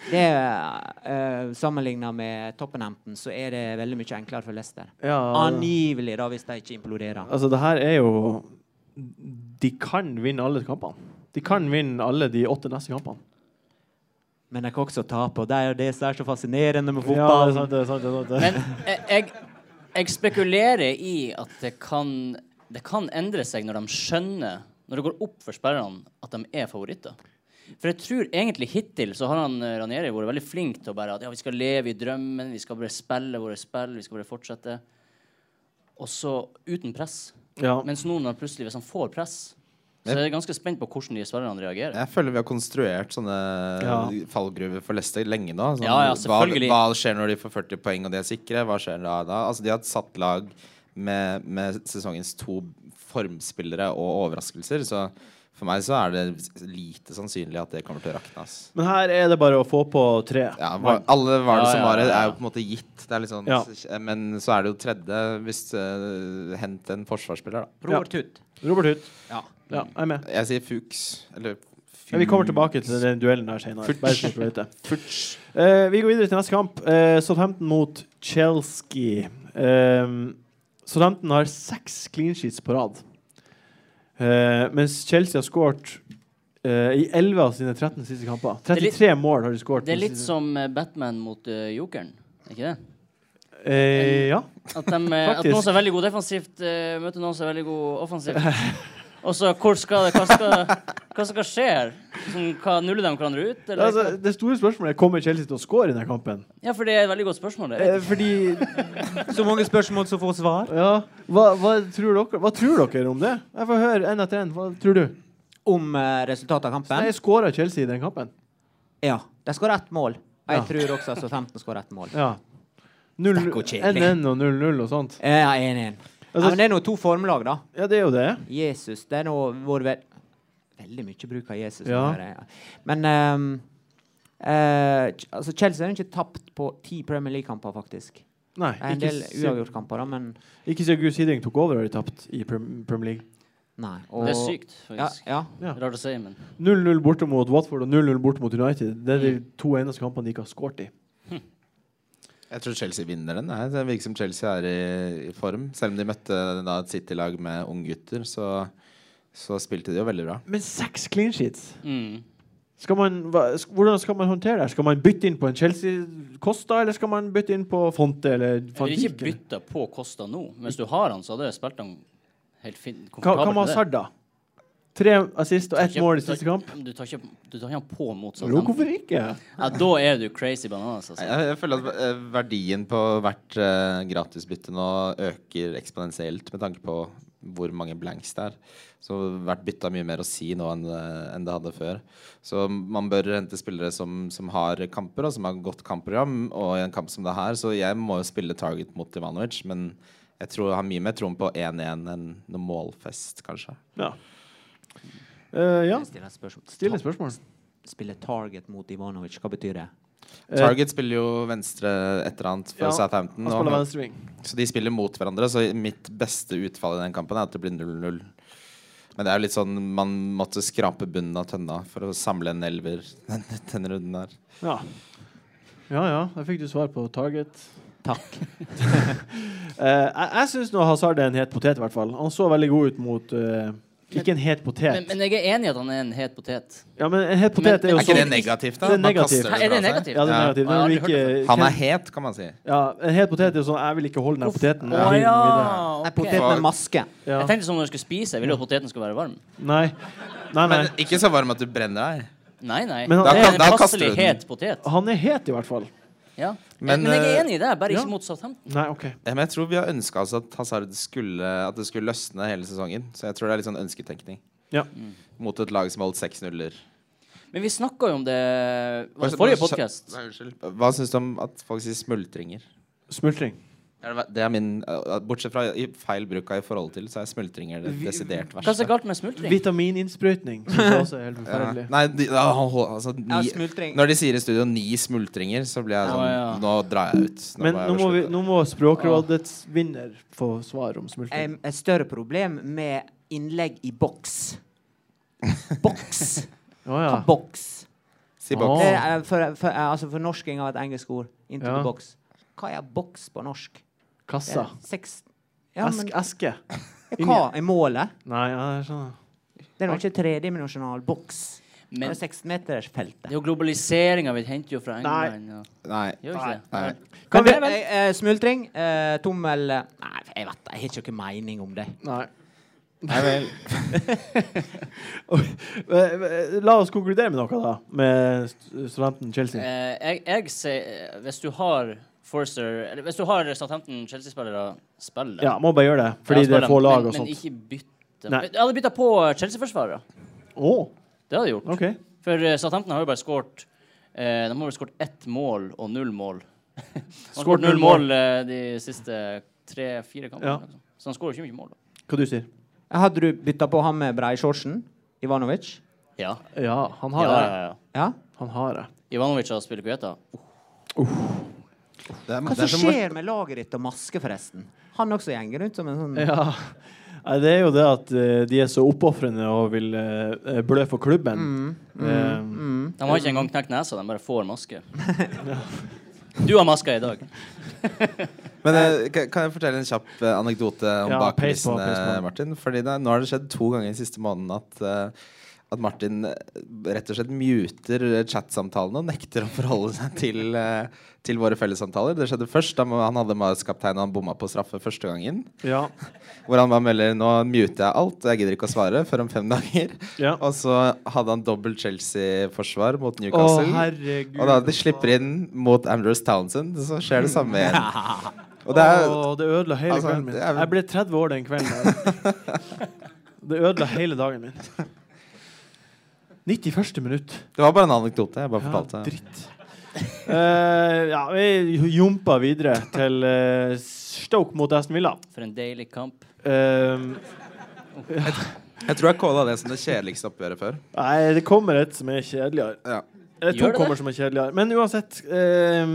Speaker 2: Det er Sammenligna med Toppenhampton så er det veldig mye enklere for Leicester.
Speaker 1: Ja,
Speaker 4: Ah,
Speaker 2: Angivelig, da, hvis de ikke imploderer.
Speaker 1: altså det her er jo De kan vinne alle kampene. De kan vinne alle de åtte neste kampene.
Speaker 2: Men de kan også tape, og det er jo det som er så fascinerende med
Speaker 1: Ja, det er
Speaker 2: fotball.
Speaker 1: sant, det er sant, det er sant. det.
Speaker 4: Men jeg, jeg, jeg spekulerer i at det kan, det kan endre seg når de skjønner, når det går opp for sperrene, at de er favoritter. For jeg tror egentlig hittil så har han eh, Ranieri vært veldig flink til å bare at ja, vi skal leve i drømmen, vi skal bare spille våre spill, vi skal bare fortsette. Og så uten press.
Speaker 1: ja.
Speaker 4: Mens nå når plutselig, hvis han får press, så er jeg ganske spent på hvordan de spillerne reagerer.
Speaker 3: Jeg føler vi har konstruert sånne
Speaker 1: Ja.
Speaker 3: fallgruver for Leicester lenge nå. Sånn,
Speaker 4: Ja, ja, selvfølgelig.
Speaker 3: hva, hva skjer når de får 40 poeng og de er sikre? Hva skjer da? da? Altså, de har satt lag med, med sesongens to formspillere og overraskelser, så for meg så er det lite sannsynlig at det kommer til å rakne. ass.
Speaker 1: Men her er det bare å få på tre.
Speaker 3: Ja, var, alle var det
Speaker 4: Ja,
Speaker 3: som
Speaker 4: ja,
Speaker 3: var det,
Speaker 4: ja, ja.
Speaker 3: er jo på en måte gitt. Det er litt sånn, Men så er det jo tredje hvis eh, Hent en forsvarsspiller, da.
Speaker 1: Ja.
Speaker 2: Bror Tutt.
Speaker 1: Robert Hutt.
Speaker 2: Ja.
Speaker 1: Ja, jeg er med.
Speaker 3: Jeg sier Fuchs. Eller Fuchs.
Speaker 1: Ja, vi kommer tilbake til den duellen der senere. Bare så dere vet det. Eh, vi går videre til neste kamp. Eh, Southampton mot Chelsea. Eh, Southampton har seks clean sheets på rad. Eh, mens Chelsea har skåret eh, i 11 av sine 13 siste kamper.
Speaker 4: er litt-
Speaker 1: 33 mål har de skåret.
Speaker 4: Det er
Speaker 1: de
Speaker 4: litt
Speaker 1: siste-
Speaker 4: som eh, Batman mot eh, Jokeren, er ikke det? sånn-
Speaker 1: Eh, ja.
Speaker 4: At, dem, eh, at
Speaker 1: Faktisk.
Speaker 4: noen som er veldig god defensivt, eh, møter noen som er veldig god offensivt. Og så hvor skal det, hva, skal, hva skal skje her? Sånn, hva, nuller de hverandre ut? Eller?
Speaker 1: Altså, det store spørsmålet er kommer Chelsea til å score i denne kampen.
Speaker 4: ja, for det er et veldig godt spørsmål. Det.
Speaker 1: Eh, fordi
Speaker 2: Så mange spørsmål som får svar.
Speaker 1: Ja, hva, hva, tror dere, hva tror dere om det? Jeg får høre en etter en. Hva tror du?
Speaker 2: Om eh, resultatet av kampen?
Speaker 1: Nei, Skåra Chelsea i den kampen?
Speaker 2: Ja. De skårer ett mål.
Speaker 1: Ja.
Speaker 2: Jeg tror også at Southampton skårer ett mål.
Speaker 1: Ja. Null-
Speaker 2: Stakk og kjedelig.
Speaker 1: 1-1 og 0-0 og sånt.
Speaker 2: Eh, Ja, 1-1. Ja, men det er nå to formlag, da.
Speaker 1: Ja, det er jo det.
Speaker 2: Jesus, det er nå vår vel... Veldig mye bruk av Jesus.
Speaker 1: Ja.
Speaker 2: nå her, ja. Men ehm, eh, Ch- altså Chelsea har jo ikke tapt på ti Premier League-kamper, faktisk. Det
Speaker 1: Nei,
Speaker 2: er en
Speaker 1: ikke,
Speaker 2: del
Speaker 1: si-
Speaker 2: uavgjort-kamper, da, men
Speaker 1: ikke siden Gus Hiddink tok over, har de tapt i Prem- Premier League.
Speaker 2: nei.
Speaker 4: det er sykt,
Speaker 2: Ja,
Speaker 4: faktisk.
Speaker 2: ja.
Speaker 1: Ja.
Speaker 4: Rart å si, men
Speaker 1: 0-0 borte mot Watford og 0-0 borte mot United. Det er de to eneste kampene de ikke har skåret i.
Speaker 3: Jeg tror Chelsea vinner den. Nei, det virker som Chelsea er i, i form. Selv om de møtte da, et City-lag med unggutter, så, så spilte de jo veldig bra.
Speaker 1: Men seks clean sheets!
Speaker 4: mm.
Speaker 1: Skal man, hva, sk- hvordan skal man håndtere det? her? Skal man bytte inn på en Chelsea-Costa, eller skal man bytte inn på Fonte eller
Speaker 4: Jeg
Speaker 1: Van
Speaker 4: ville
Speaker 1: Dijk?
Speaker 4: ikke bytta på Kosta nå. Mens du har han, så hadde jeg spilt han helt fint.
Speaker 1: Hva hva med
Speaker 4: komfortabelt med det.
Speaker 1: Hazard, da? Tre assist og
Speaker 4: Du tar
Speaker 1: ett
Speaker 4: ikke-
Speaker 1: mål i
Speaker 4: du tar-
Speaker 1: siste kamp.
Speaker 4: Du tar ikke, du tar ikke han på mot
Speaker 1: Jo,
Speaker 4: Southampton.
Speaker 1: hvorfor ikke?
Speaker 4: Ja, da er du crazy bananas.
Speaker 3: Nei,
Speaker 4: Altså.
Speaker 3: Jeg, jeg føler at eh, verdien på hvert eh, gratisbytte nå øker eksponentielt med tanke på hvor mange blanks det er. Så hvert bytte har mye mer å si nå enn, eh, enn det hadde før. Så man bør hente spillere som, som har kamper, og som har godt kampprogram. Og i en kamp som det her, så jeg må jo spille target mot Ivanovic, men jeg tror jeg har mye mer troen på 1-1 enn noe målfest, kanskje.
Speaker 1: Ja. Eh, ja.
Speaker 2: Jeg Stiller spørsmål.
Speaker 1: Still et spørsmål.
Speaker 2: Spille target mot Ivanovic, hva betyr det?
Speaker 1: Eh,
Speaker 3: Target spiller jo venstre et eller annet for
Speaker 1: Ja,
Speaker 3: Southampton.
Speaker 1: Han
Speaker 3: og
Speaker 1: spiller
Speaker 3: han-
Speaker 1: venstreving.
Speaker 3: Så de spiller mot hverandre, så mitt beste utfall i den kampen er at det blir 0-0. Men det er jo litt sånn man måtte skrape bunnen av tønna for å samle en elver denne runden her.
Speaker 1: Ja. ja ja, der fikk du svar på target.
Speaker 2: Takk.
Speaker 1: Eh, jeg jeg syns Hazard er en het potet, i hvert fall. Han så veldig god ut mot eh, Ikke en het potet.
Speaker 4: Men, men jeg er enig i at han er en het potet.
Speaker 1: ja, men en het potet er
Speaker 4: Men-
Speaker 3: Er
Speaker 1: jo
Speaker 3: ikke det
Speaker 1: sånn
Speaker 3: negativt, da?
Speaker 1: Det er
Speaker 3: Man
Speaker 1: negativt.
Speaker 3: kaster
Speaker 4: Hæ, er det
Speaker 3: fra seg.
Speaker 4: negativt?
Speaker 1: Ja, det er
Speaker 3: Ja.
Speaker 1: negativt.
Speaker 4: Å, jeg har
Speaker 1: Når du
Speaker 4: aldri hørt
Speaker 1: ikke-
Speaker 3: Han er het, kan man si.
Speaker 1: Ja, en het potet er jo sånn Jeg vil ikke holde den her poteten.
Speaker 4: Å ja!
Speaker 2: Nei,
Speaker 4: ok.
Speaker 2: potet med maske.
Speaker 1: Ja.
Speaker 4: Jeg tenkte som når jeg skulle spise. Jeg ville jo at poteten skulle være varm.
Speaker 1: Nei. Nei, nei.
Speaker 3: Men ikke så varm at du brenner deg.
Speaker 4: Nei, nei.
Speaker 1: Men han-
Speaker 4: det
Speaker 3: Da-
Speaker 4: er en
Speaker 3: da kaster du
Speaker 4: passelig
Speaker 3: den.
Speaker 4: het potet.
Speaker 1: Han er het, i hvert fall.
Speaker 4: Ja.
Speaker 3: Men,
Speaker 4: Men, men jeg
Speaker 3: eh,
Speaker 4: er enig i det, bare
Speaker 1: ja.
Speaker 4: ikke mot Southampton.
Speaker 1: Nei, OK.
Speaker 3: Ja, Men jeg tror vi har ønska oss at Hazard skulle At det skulle løsne hele sesongen. Så jeg tror det er litt sånn ønsketenkning.
Speaker 1: Ja.
Speaker 3: Mot et lag som holdt seks nuller.
Speaker 4: Men vi snakka jo om det var det forrige podkast.
Speaker 3: Nei, unnskyld. Hva syns du om at folk sier smultringer?
Speaker 1: Smultring.
Speaker 3: Ja, det var- Det er min uh, Bortsett fra i feil bruk av i forhold til, så er smultringer det desidert
Speaker 4: Hva er det
Speaker 3: verste.
Speaker 4: så galt med smultring?
Speaker 1: Vitamininnsprøytning. Synes jeg også er helt
Speaker 3: Ja.
Speaker 1: forferdelig.
Speaker 3: Eh, Nei, de, da, han hol- altså,
Speaker 2: Ja,
Speaker 3: ni,
Speaker 2: smultring.
Speaker 3: når de sier i studio 'ni smultringer', så blir jeg
Speaker 4: Ja,
Speaker 3: sånn
Speaker 4: ja.
Speaker 3: Nå drar jeg ut. Nå
Speaker 1: Men
Speaker 3: må jeg
Speaker 1: nå må, vi,
Speaker 3: slutte.
Speaker 1: nå må Språkrådets vinner få svar om smultring.
Speaker 2: Em, Et større problem med innlegg i boks. Boks.
Speaker 1: Å
Speaker 2: Hva
Speaker 1: ja.
Speaker 2: boks?
Speaker 3: Si boks.
Speaker 2: Det er, eh, for, for, eh, altså fornorsking av et engelsk ord. Into
Speaker 1: Ja.
Speaker 2: the box. Hva er boks på norsk? Det
Speaker 1: Kassa.
Speaker 2: er seks ja, men,
Speaker 1: Esk, eske.
Speaker 2: Hva er målet?
Speaker 1: Nei, ja, jeg skjønner.
Speaker 2: Det er nå ikke tredimensjonal boks. Det
Speaker 4: Men
Speaker 2: er seksmetersfeltet.
Speaker 4: det er jo globaliseringa vi henter jo fra
Speaker 1: Nei.
Speaker 4: England. og-
Speaker 3: Nei.
Speaker 4: Gjør vi ikke
Speaker 3: Nei.
Speaker 4: det?
Speaker 1: Men
Speaker 2: Kan vi,
Speaker 1: det er vel-
Speaker 2: eh, eh, smultring, eh, tommel eh, Nei, jeg vet det. Jeg har ikke noen mening om det.
Speaker 1: Nei.
Speaker 3: Nei vel.
Speaker 1: Eh, La oss konkludere med noe, da. Med st- studenten Chelsea.
Speaker 4: Eh, jeg, jeg sier eh, Hvis du har Forster Eller hvis du har Southampton Chelsea-spillere, spill dem.
Speaker 1: Ja, må bare gjøre det. Fordi
Speaker 4: Ja, spill
Speaker 1: det er
Speaker 4: dem,
Speaker 1: få lag
Speaker 4: men,
Speaker 1: og
Speaker 4: Men
Speaker 1: sånt.
Speaker 4: ikke bytte
Speaker 1: Nei.
Speaker 4: Jeg hadde bytta på eh, Chelsea-forsvarere.
Speaker 1: Å,
Speaker 4: Det hadde jeg gjort.
Speaker 1: OK.
Speaker 4: For eh, Southampton har jo bare skåret eh, De har vel skåret ett mål og null mål. Han
Speaker 1: Skåret
Speaker 4: skåret
Speaker 1: null
Speaker 4: null
Speaker 1: mål.
Speaker 4: mål eh, de siste tre-fire kampene.
Speaker 1: Ja.
Speaker 4: liksom. Så han skårer ikke mye mål. da.
Speaker 1: Hva du sier
Speaker 2: Hadde du bytta på han med breishortsen? Ivanovic?
Speaker 4: Ja.
Speaker 1: Ja, han
Speaker 4: ja,
Speaker 1: har
Speaker 4: ja,
Speaker 1: det.
Speaker 4: ja.
Speaker 2: Ja?
Speaker 1: Han har det.
Speaker 4: Ivanovic har spilt Guetta.
Speaker 3: Det er,
Speaker 2: Hva
Speaker 3: det er
Speaker 2: som
Speaker 3: som
Speaker 2: skjer med laget ditt og maske, forresten? Han også gjenger rundt som en sånn
Speaker 1: Ja. Nei, det er jo det at eh, de er så oppofrende og vil eh, blø for klubben.
Speaker 4: Mm,
Speaker 1: Eh,
Speaker 4: De har ikke engang knekt nesa, de bare får maske. Du har maska i dag.
Speaker 3: Men eh, kan- kan jeg fortelle en kjapp eh, anekdote om
Speaker 1: Ja,
Speaker 3: bak
Speaker 1: peis på, peis
Speaker 3: kulissene,
Speaker 1: på.
Speaker 3: Martin? Fordi det, nå har det skjedd to ganger de siste månedene at eh, at Martin eh, rett og slett muter eh, chatsamtalene og nekter å forholde seg til, eh, til våre fellessamtaler. Det skjedde først da han hadde Marius-kaptein og han bomma på straffe første gangen.
Speaker 1: Ja.
Speaker 3: Hvor han bare melder nå muter jeg alt, og jeg gidder ikke å svare før om fem dager.
Speaker 1: Ja.
Speaker 3: Og så hadde han dobbelt Chelsea-forsvar mot
Speaker 1: Å,
Speaker 3: Newcastle.
Speaker 1: herregud.
Speaker 3: og da de slipper inn mot Ambrose Townsend, så skjer det samme igjen. Og det er,
Speaker 1: Å, det ødela hele
Speaker 3: altså,
Speaker 1: kvelden min.
Speaker 3: det er vel-
Speaker 1: Jeg ble 30 år den kvelden. Der. det ødela hele dagen min. 91. minutt.
Speaker 3: det var bare en anekdote jeg bare
Speaker 1: Ja,
Speaker 3: fortalte.
Speaker 1: dritt. Eh, ja, vi jumpa videre til eh, Stoke mot Aston Villa.
Speaker 4: For en deilig kamp.
Speaker 1: Eh,
Speaker 3: Jeg tror jeg kåla det som det kjedeligste oppgjøret før.
Speaker 1: nei, det kommer et som er kjedeligere.
Speaker 3: Ja.
Speaker 1: Eller
Speaker 4: Gjør
Speaker 1: to
Speaker 4: det det?
Speaker 1: kommer som er kjedeligere. Men uansett eh,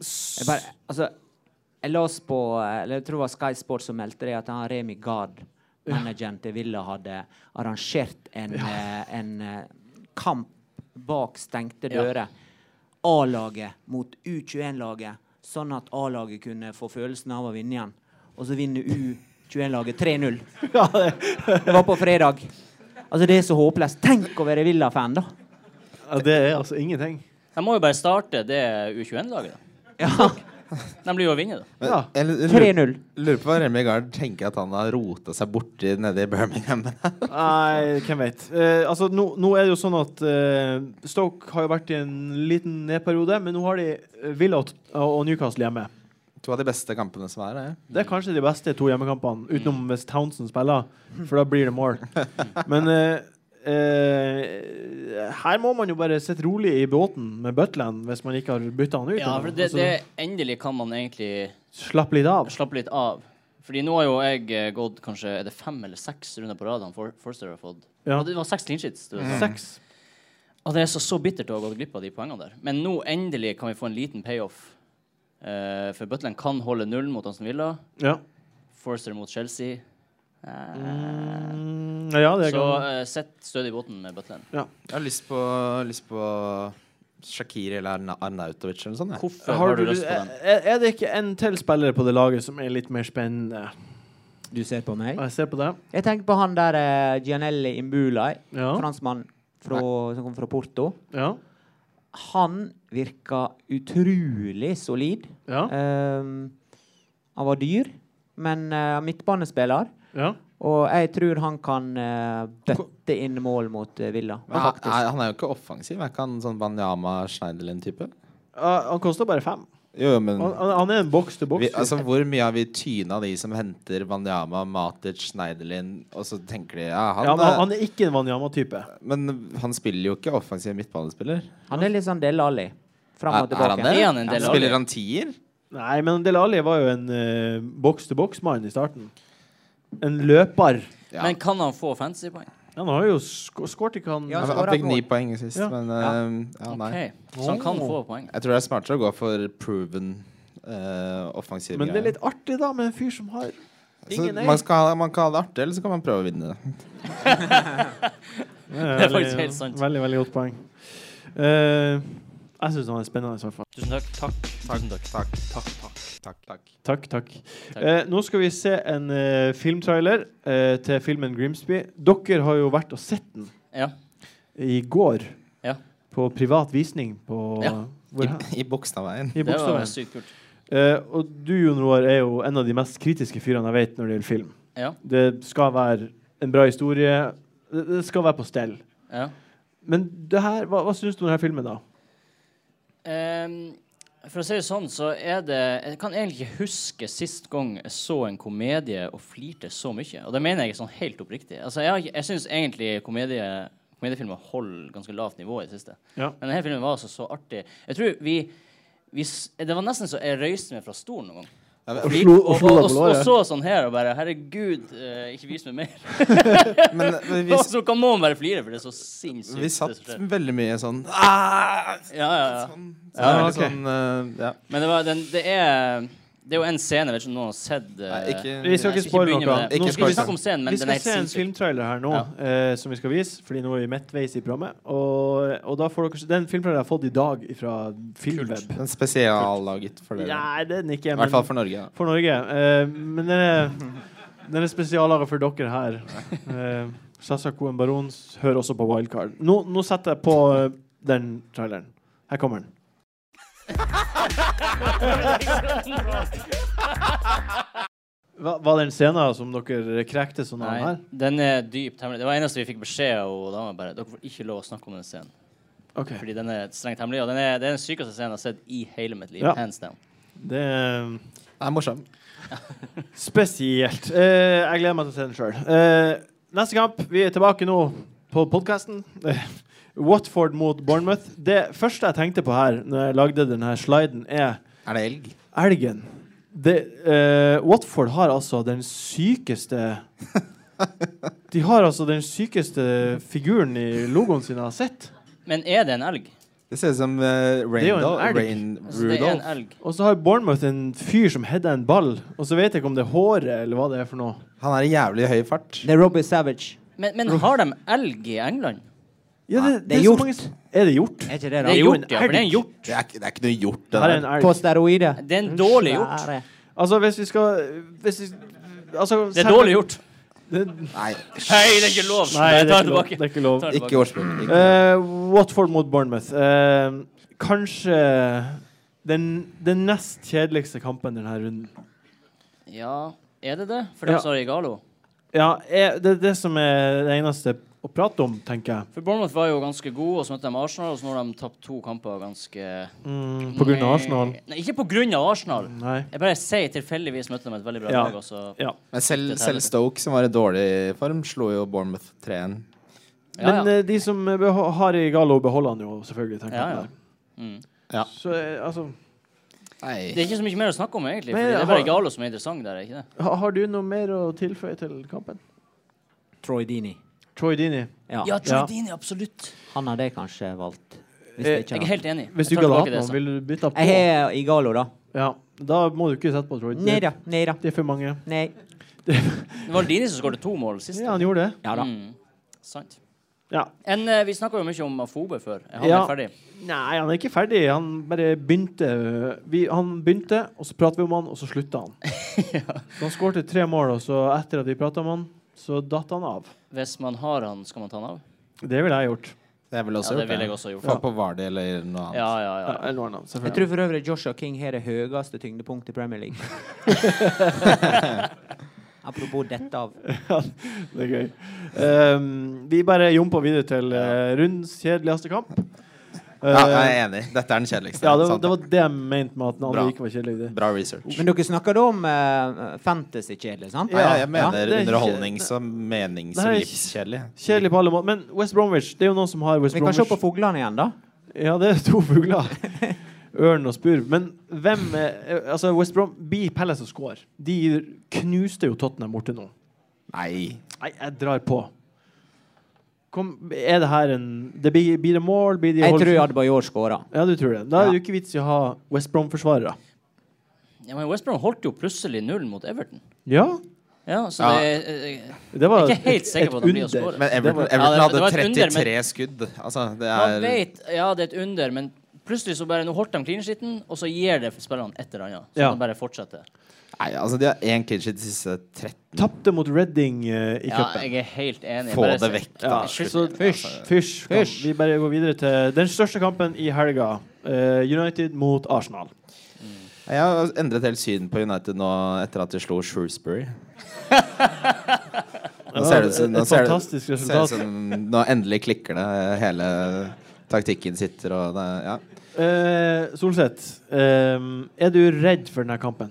Speaker 1: s-
Speaker 2: Jeg bare, altså, jeg las på eller jeg tror det var Sky Sports som meldte det, at han Remi Gard, manageren til Villa, hadde arrangert en, eh, en eh, kamp bak stengte
Speaker 4: Ja.
Speaker 2: dører. A-laget mot U21-laget, sånn at A-laget kunne få følelsen av å vinne igjen. Og så vinner U21-laget 3-0. Det var på fredag. Altså, det er så håpløst. Tenk å være Villa-fan, da.
Speaker 1: ja, det er altså ingenting.
Speaker 4: De må jo bare starte det U21-laget, da.
Speaker 2: Ja,
Speaker 4: De blir jo å vinne, da.
Speaker 3: Men,
Speaker 1: Ja.
Speaker 3: jeg lurer-
Speaker 2: 3-0.
Speaker 3: Lurer på hva Remi Gard tenker at han har rota seg borti nede i Birmingham.
Speaker 1: Nei, hvem vet. Eh, altså, nå, nå er det jo sånn at eh, Stoke har jo vært i en liten nedperiode, men nå har de eh, Villa og, og Newcastle hjemme.
Speaker 3: to av de beste kampene som er. eh.
Speaker 1: Det er kanskje de beste to hjemmekampene, utenom hvis Townsend spiller, for da blir det mål. Men eh, eh, her må man jo bare sitte rolig i båten med Butland hvis man ikke har bytta han ut. Altså,
Speaker 4: Ja, for det, det endelig kan man egentlig
Speaker 1: Slapp litt av.
Speaker 4: slappe litt av. Fordi nå har jo jeg eh, gått kanskje er det fem eller seks runder på rad han For- Forster har fått.
Speaker 1: Ja.
Speaker 4: Og Det var Mm. seks clean sheets. Du vet.
Speaker 1: Seks.
Speaker 4: Og det er så, så bittert å ha gått glipp av de poengene der. Men nå endelig kan vi få en liten payoff. Eh, for Butland kan holde null mot Aston Villa.
Speaker 1: Ja.
Speaker 4: Forster mot Chelsea. Eh,
Speaker 1: Mm, ja, det
Speaker 4: så
Speaker 1: kan
Speaker 4: eh, sett stødig i båten med Butland.
Speaker 3: Jeg har lyst på, lyst på Shakiri eller Arna- Arnautovic eller noe sånt. jeg.
Speaker 4: Hvorfor har,
Speaker 1: har
Speaker 4: du lyst på den?
Speaker 1: Er, er det ikke en til spiller på det laget som er litt mer spennende?
Speaker 2: Du ser på meg?
Speaker 1: Jeg ser på det.
Speaker 2: Jeg tenker på han der eh, Gianelli Imbulai,
Speaker 1: Ja.
Speaker 2: franskmann fra, som kom fra Porto.
Speaker 1: Ja.
Speaker 2: Han virka utrolig solid.
Speaker 1: Ja.
Speaker 2: Ehm, han var dyr, men eh, midtbanespiller.
Speaker 1: ja.
Speaker 2: Og jeg tror han kan eh, bøtte inn mål mot eh, Villa.
Speaker 3: Men han, er- han er jo ikke offensiv. Er ikke han sånn Banyama Schneiderlin-type?
Speaker 1: Ah, han koster bare fem.
Speaker 3: Jo, jo, men
Speaker 1: Han, han han er en boks til boks.
Speaker 3: vi, altså, Hvor mye har vi tyna de som henter Banyama, Matic, Schneiderlin, og så tenker de ja, han,
Speaker 1: ja, men han,
Speaker 3: er-
Speaker 1: han er ikke en Wanyama-type.
Speaker 3: Men han spiller jo ikke offensiv midtbanespiller.
Speaker 2: Han er litt sånn Del Alli. Fram og
Speaker 3: Er- er han
Speaker 2: tilbake.
Speaker 3: det?
Speaker 4: Er han en Dele Alli?
Speaker 3: Spiller han tier?
Speaker 1: Nei, men Del Alli var jo en eh, boks-til-boks-mann i starten. En løper.
Speaker 3: Ja.
Speaker 4: Men kan han få fantasypoeng?
Speaker 1: Han har jo sk skåret ikke han
Speaker 2: Ja,
Speaker 3: Han,
Speaker 2: så-
Speaker 1: ja,
Speaker 3: han
Speaker 2: skårer
Speaker 3: fikk ni
Speaker 2: mål.
Speaker 3: poeng sist,
Speaker 1: Ja.
Speaker 3: men
Speaker 2: Ja.
Speaker 3: eh, ja, nei.
Speaker 4: Ok, Så han kan få poeng.
Speaker 3: Jeg tror det er smartere å gå for proven uh, offensiv
Speaker 1: Men det er litt artig, da, med en fyr som har
Speaker 3: så
Speaker 1: ingen A.
Speaker 3: man, skal ha, man kan ha det artig, eller så kan man prøve å vinne det.
Speaker 1: Det
Speaker 4: er faktisk helt sant.
Speaker 1: Eh, Veldig, veldig godt poeng. Eh, jeg syns han er spennende, i hvert fall.
Speaker 4: Tusen takk. Takk. Tusen takk.
Speaker 1: Takk, takk. Eh, nå skal vi se en eh, filmtrailer eh, til filmen Grimsby. Dere har jo vært og sett den
Speaker 4: Ja.
Speaker 1: i går.
Speaker 4: Ja.
Speaker 1: På privat visning på
Speaker 4: Ja.
Speaker 1: hvor
Speaker 3: I,
Speaker 1: hen?
Speaker 3: i Bogstadveien.
Speaker 1: I
Speaker 4: Det var
Speaker 1: Bogstadveien.
Speaker 4: sykt kult.
Speaker 1: Eh, og du, Jon Roar, er jo en av de mest kritiske fyrene jeg vet når det gjelder film.
Speaker 4: Ja.
Speaker 1: Det skal være en bra historie. Det, det skal være på stell.
Speaker 4: ja.
Speaker 1: Men det her, hva, hva syns du om denne filmen, da?
Speaker 4: Ehm, for å si det sånn, så er det Jeg kan egentlig ikke huske sist gang jeg så en komedie og flirte så mye. Og det mener jeg sånn helt oppriktig. Altså, jeg, har ikke- jeg syns egentlig komedie, komediefilmer holder ganske lavt nivå i det siste.
Speaker 1: Ja.
Speaker 4: Men denne filmen var altså så artig. Jeg tror vi, vi s- Det var nesten så jeg røyste meg fra stolen noen gang.
Speaker 1: Og slo- og slo deg på
Speaker 4: og, og
Speaker 1: låret.
Speaker 4: så sånn her og bare Herregud, eh, ikke vis meg mer.
Speaker 3: Men vi,
Speaker 4: Og så kan noen bare flire, for det er så sinnssykt.
Speaker 3: vi
Speaker 4: det som
Speaker 3: satt
Speaker 4: skjer.
Speaker 3: veldig mye sånn «Ah!»
Speaker 4: ja, ja, ja.
Speaker 3: Sånn, så
Speaker 1: Ja,
Speaker 3: det er
Speaker 1: ok.
Speaker 3: litt sånn, eh, ja.
Speaker 4: Men det, var, den, det er Det er jo en scene, jeg vet ikke om noen har sett eh,
Speaker 3: Nei, ikke-
Speaker 1: Vi skal
Speaker 4: Nei,
Speaker 1: ikke spoile
Speaker 4: begynne
Speaker 1: noe.
Speaker 4: med det.
Speaker 3: Ikke
Speaker 4: Nå skal vi
Speaker 3: spoil
Speaker 4: ikke snakke om scenen, men
Speaker 1: vi
Speaker 4: den er
Speaker 1: skal se en
Speaker 4: helt sinnssyk.
Speaker 1: filmtrailer her nå, eh, som vi skal vise, fordi nå er vi midtveis i programmet. Og, og da får dere, se- den filmtraileren jeg har fått i dag fra Filmweb.
Speaker 3: Den spesiallaget for dere.
Speaker 1: Nei, det er den ikke.
Speaker 3: I
Speaker 1: men-
Speaker 3: hvert fall for Norge. Da.
Speaker 1: for Norge. Eh, men den er, den er spesialere for dere her. Eh, Sasakoen Barons hører også på Wildcard. Nå, nå setter jeg på eh, den traileren. Her kommer den. Hva, var det en scene som dere krekte sånn av
Speaker 4: Nei,
Speaker 1: her?
Speaker 4: den er dypt hemmelig. Det var eneste vi fikk beskjed av og da var jeg bare Dere får ikke lov å snakke om den scenen.
Speaker 1: Ok.
Speaker 4: Fordi den er strengt hemmelig. Og den er, det er den sykeste scenen jeg har sett i hele mitt liv.
Speaker 1: Ja.
Speaker 4: Hands down.
Speaker 1: Det er
Speaker 3: Det er morsom.
Speaker 1: spesielt. Eh, jeg gleder meg til å se den sjøl. neste kamp. Vi er tilbake nå på podkasten. Watford mot Bournemouth. Det første jeg tenkte på her når jeg lagde denne sliden, er
Speaker 3: Er det elg?
Speaker 1: Elgen det, eh, Watford har altså den sykeste De har altså den sykeste figuren i logoen sin jeg har sett.
Speaker 4: Men er det en elg?
Speaker 3: Det ser ut som eh,
Speaker 1: er jo en
Speaker 3: Raindol-
Speaker 1: elg.
Speaker 3: Rain
Speaker 4: Altså, det er en
Speaker 3: Rudolph.
Speaker 4: elg.
Speaker 1: Og så har Bournemouth en fyr som header en ball, og så vet jeg ikke om det er håret eller hva det er for noe.
Speaker 3: Han er i jævlig høy fart.
Speaker 2: Det er Robbie Savage.
Speaker 4: Men, men har de elg i England?
Speaker 1: Ja,
Speaker 2: Nei, det er
Speaker 1: så
Speaker 2: hjort.
Speaker 1: mange- Er det gjort?
Speaker 2: Er ikke det,
Speaker 4: Det er
Speaker 2: da?
Speaker 1: jo en
Speaker 4: hjort, ja. For det er en
Speaker 1: elg.
Speaker 4: hjort.
Speaker 3: Det er, ikke- det er ikke noe gjort, det
Speaker 1: Her er en
Speaker 3: der.
Speaker 1: elg.
Speaker 2: På steroider?
Speaker 4: Det er en dårlig hjort.
Speaker 2: Svære.
Speaker 1: Altså, hvis vi skal hvis vi, altså,
Speaker 4: Det er
Speaker 1: selv-
Speaker 4: dårlig gjort.
Speaker 1: Det-
Speaker 3: Nei,
Speaker 4: Nei, det er ikke lov.
Speaker 1: Nei,
Speaker 4: Jeg
Speaker 1: det er
Speaker 4: tar
Speaker 1: ikke lov.
Speaker 4: tilbake.
Speaker 1: Det er ikke lov.
Speaker 4: Tar
Speaker 3: ikke årsprøven. Ikke-
Speaker 1: Eh, Watford mot Bournemouth. Eh, kanskje den, den nest kjedeligste kampen denne runden.
Speaker 4: Ja, er det det? For dem
Speaker 1: Ja.
Speaker 4: som har Igalo?
Speaker 1: Ja, er, det er det som er det eneste å prate om, tenker jeg.
Speaker 4: For Bournemouth var jo ganske gode, og så møtte de Arsenal, og så nå har de tapt to kamper ganske
Speaker 1: Mm, på grunn av Arsenal.
Speaker 4: Nei, ikke på grunn av Arsenal.
Speaker 1: Nei.
Speaker 4: Jeg bare sier tilfeldigvis møtte de et veldig bra
Speaker 1: Ja.
Speaker 4: lag, og så
Speaker 1: Ja.
Speaker 3: Men selv,
Speaker 4: Dette er
Speaker 3: selv
Speaker 4: det.
Speaker 3: Stoke, som var i dårlig form, slo jo Bournemouth 3-1.
Speaker 4: Ja,
Speaker 1: Men
Speaker 4: ja.
Speaker 1: eh, de som eh, beho- har i Galo, beholder han jo selvfølgelig. tenker
Speaker 4: Ja,
Speaker 1: jeg.
Speaker 4: ja. Mm.
Speaker 1: Så eh, altså
Speaker 4: Det er ikke så mye mer å snakke om, egentlig.
Speaker 1: Men
Speaker 4: Fordi det
Speaker 1: jeg
Speaker 4: er bare
Speaker 1: har-
Speaker 4: Igalo som er interessant der, er ikke det?
Speaker 1: ha, Har du noe mer å tilføye til kampen?
Speaker 2: Troy Dini.
Speaker 1: Troy Dini.
Speaker 2: Ja.
Speaker 4: Ja,
Speaker 1: Ja.
Speaker 4: Trudini, absolutt.
Speaker 2: Han hadde jeg kanskje valgt. Hvis
Speaker 1: Eh,
Speaker 2: det ikke
Speaker 4: Jeg er
Speaker 2: hadde.
Speaker 4: helt enig.
Speaker 1: Hvis du
Speaker 4: Jeg
Speaker 1: ikke hadde
Speaker 4: tar tilbake
Speaker 1: hatt
Speaker 4: det jeg
Speaker 1: noen,
Speaker 4: sa.
Speaker 1: ville du bytta på?
Speaker 2: Jeg har Igalo, da.
Speaker 1: Ja. Da må du ikke sette på Troy Dini.
Speaker 2: Nei da. Nei da.
Speaker 1: Det er for mange.
Speaker 2: Nei.
Speaker 4: Det var Dini som skåret to mål sist.
Speaker 1: Ja, han gjorde det.
Speaker 2: Ja da.
Speaker 4: Mm. Sant.
Speaker 1: Ja.
Speaker 4: En, eh, vi snakka jo mye om Afobe før. Er Han
Speaker 1: Ja.
Speaker 4: er ferdig.
Speaker 1: Nei, han er ikke ferdig. Han bare begynte. Vi, han begynte, og så pratet vi om han, og så slutta han. Så han skårte tre mål, og så etter at vi prata om han, så datt han av.
Speaker 4: Hvis man har han, skal man ta han av?
Speaker 1: Det ville jeg gjort.
Speaker 3: Det ville også
Speaker 4: Ja, det
Speaker 3: gjort
Speaker 4: ville jeg
Speaker 3: det.
Speaker 4: også gjort.
Speaker 3: Få på Vardy eller noe annet.
Speaker 4: Ja, ja, ja.
Speaker 1: Ja, eller noe annet,
Speaker 2: Jeg
Speaker 1: selvfølgelig.
Speaker 2: tror for øvrig Joshua King har det høyeste tyngdepunktet i Premier League. Apropos dette av
Speaker 1: Det er gøy. Ehm, vi bare jumper videre til eh, rundens kjedeligste kamp. Eh,
Speaker 3: Ja, jeg er enig. Dette er den kjedeligste.
Speaker 1: ja, det, var-
Speaker 3: Sant.
Speaker 1: det var det jeg mente med at den andre
Speaker 3: Bra.
Speaker 1: ikke var kjedelig.
Speaker 3: Bra research.
Speaker 2: Men dere snakker da om eh, fantasy-kjedelig, sant?
Speaker 3: Nei, jeg
Speaker 2: Ja.
Speaker 3: mener
Speaker 1: det er ikke-
Speaker 3: underholdning som menings-
Speaker 1: Det
Speaker 3: og
Speaker 1: er ikke-
Speaker 3: livskjedelig.
Speaker 1: Kjedelig på alle måter. Men West Bromwich, det er jo noen som har West
Speaker 2: Vi kan se
Speaker 1: Bromwich.
Speaker 2: på fuglene igjen, da.
Speaker 1: Ja, det er to fugler. Ørn og spurv. Men hvem eh, Altså, West Brom blir Palace og score. De knuste jo Tottenham borte nå.
Speaker 3: Nei.
Speaker 1: Nei, jeg drar på. Kom, er det her en det blir, blir det mål? Blir de
Speaker 2: Jeg
Speaker 1: holdt-
Speaker 2: tror Adebayor skåra.
Speaker 1: Ja, du tror det. Da er det
Speaker 2: Ja.
Speaker 1: jo ikke vits i å ha West Brom-forsvarere.
Speaker 4: ja men West Brom holdt jo plutselig nullen mot Everton.
Speaker 1: Ja,
Speaker 4: Ja, så
Speaker 3: Ja.
Speaker 4: det eh,
Speaker 1: det var
Speaker 4: Jeg er ikke helt sikker på at de blir å score.
Speaker 3: Men Everton,
Speaker 4: det var-
Speaker 3: Everton
Speaker 4: det var et
Speaker 3: hadde
Speaker 4: under, men-
Speaker 3: 33 skudd. Altså, det
Speaker 4: Man
Speaker 3: er
Speaker 4: vet Ja, det er et under, men plutselig så bare Nå holdt de clean sheeten, og så gir det spillerne et eller annet. Så
Speaker 1: Ja.
Speaker 4: de bare fortsetter.
Speaker 3: Nei, altså, de har én clean sheet de siste 13.
Speaker 1: Tapte mot Reading eh, i
Speaker 4: Ja,
Speaker 1: cupen.
Speaker 4: jeg er helt enig.
Speaker 3: Få
Speaker 4: Bare
Speaker 3: det
Speaker 4: se-
Speaker 3: vekk, da.
Speaker 4: Ja,
Speaker 1: så
Speaker 4: Altså-
Speaker 1: fysj, fysj, kom. Vi bare går videre til den største kampen i helga. eh, United mot Arsenal.
Speaker 3: Jeg har endret helt syn på United nå etter at de slo Shrewsbury. Nå ser det ut som-
Speaker 1: Et
Speaker 3: nå ser det-
Speaker 1: fantastisk
Speaker 3: ser det ut
Speaker 1: resultat.
Speaker 3: som- Nå endelig klikker det. Hele taktikken sitter og det, ja.
Speaker 1: Eh, Solseth, eh, er du redd for denne kampen?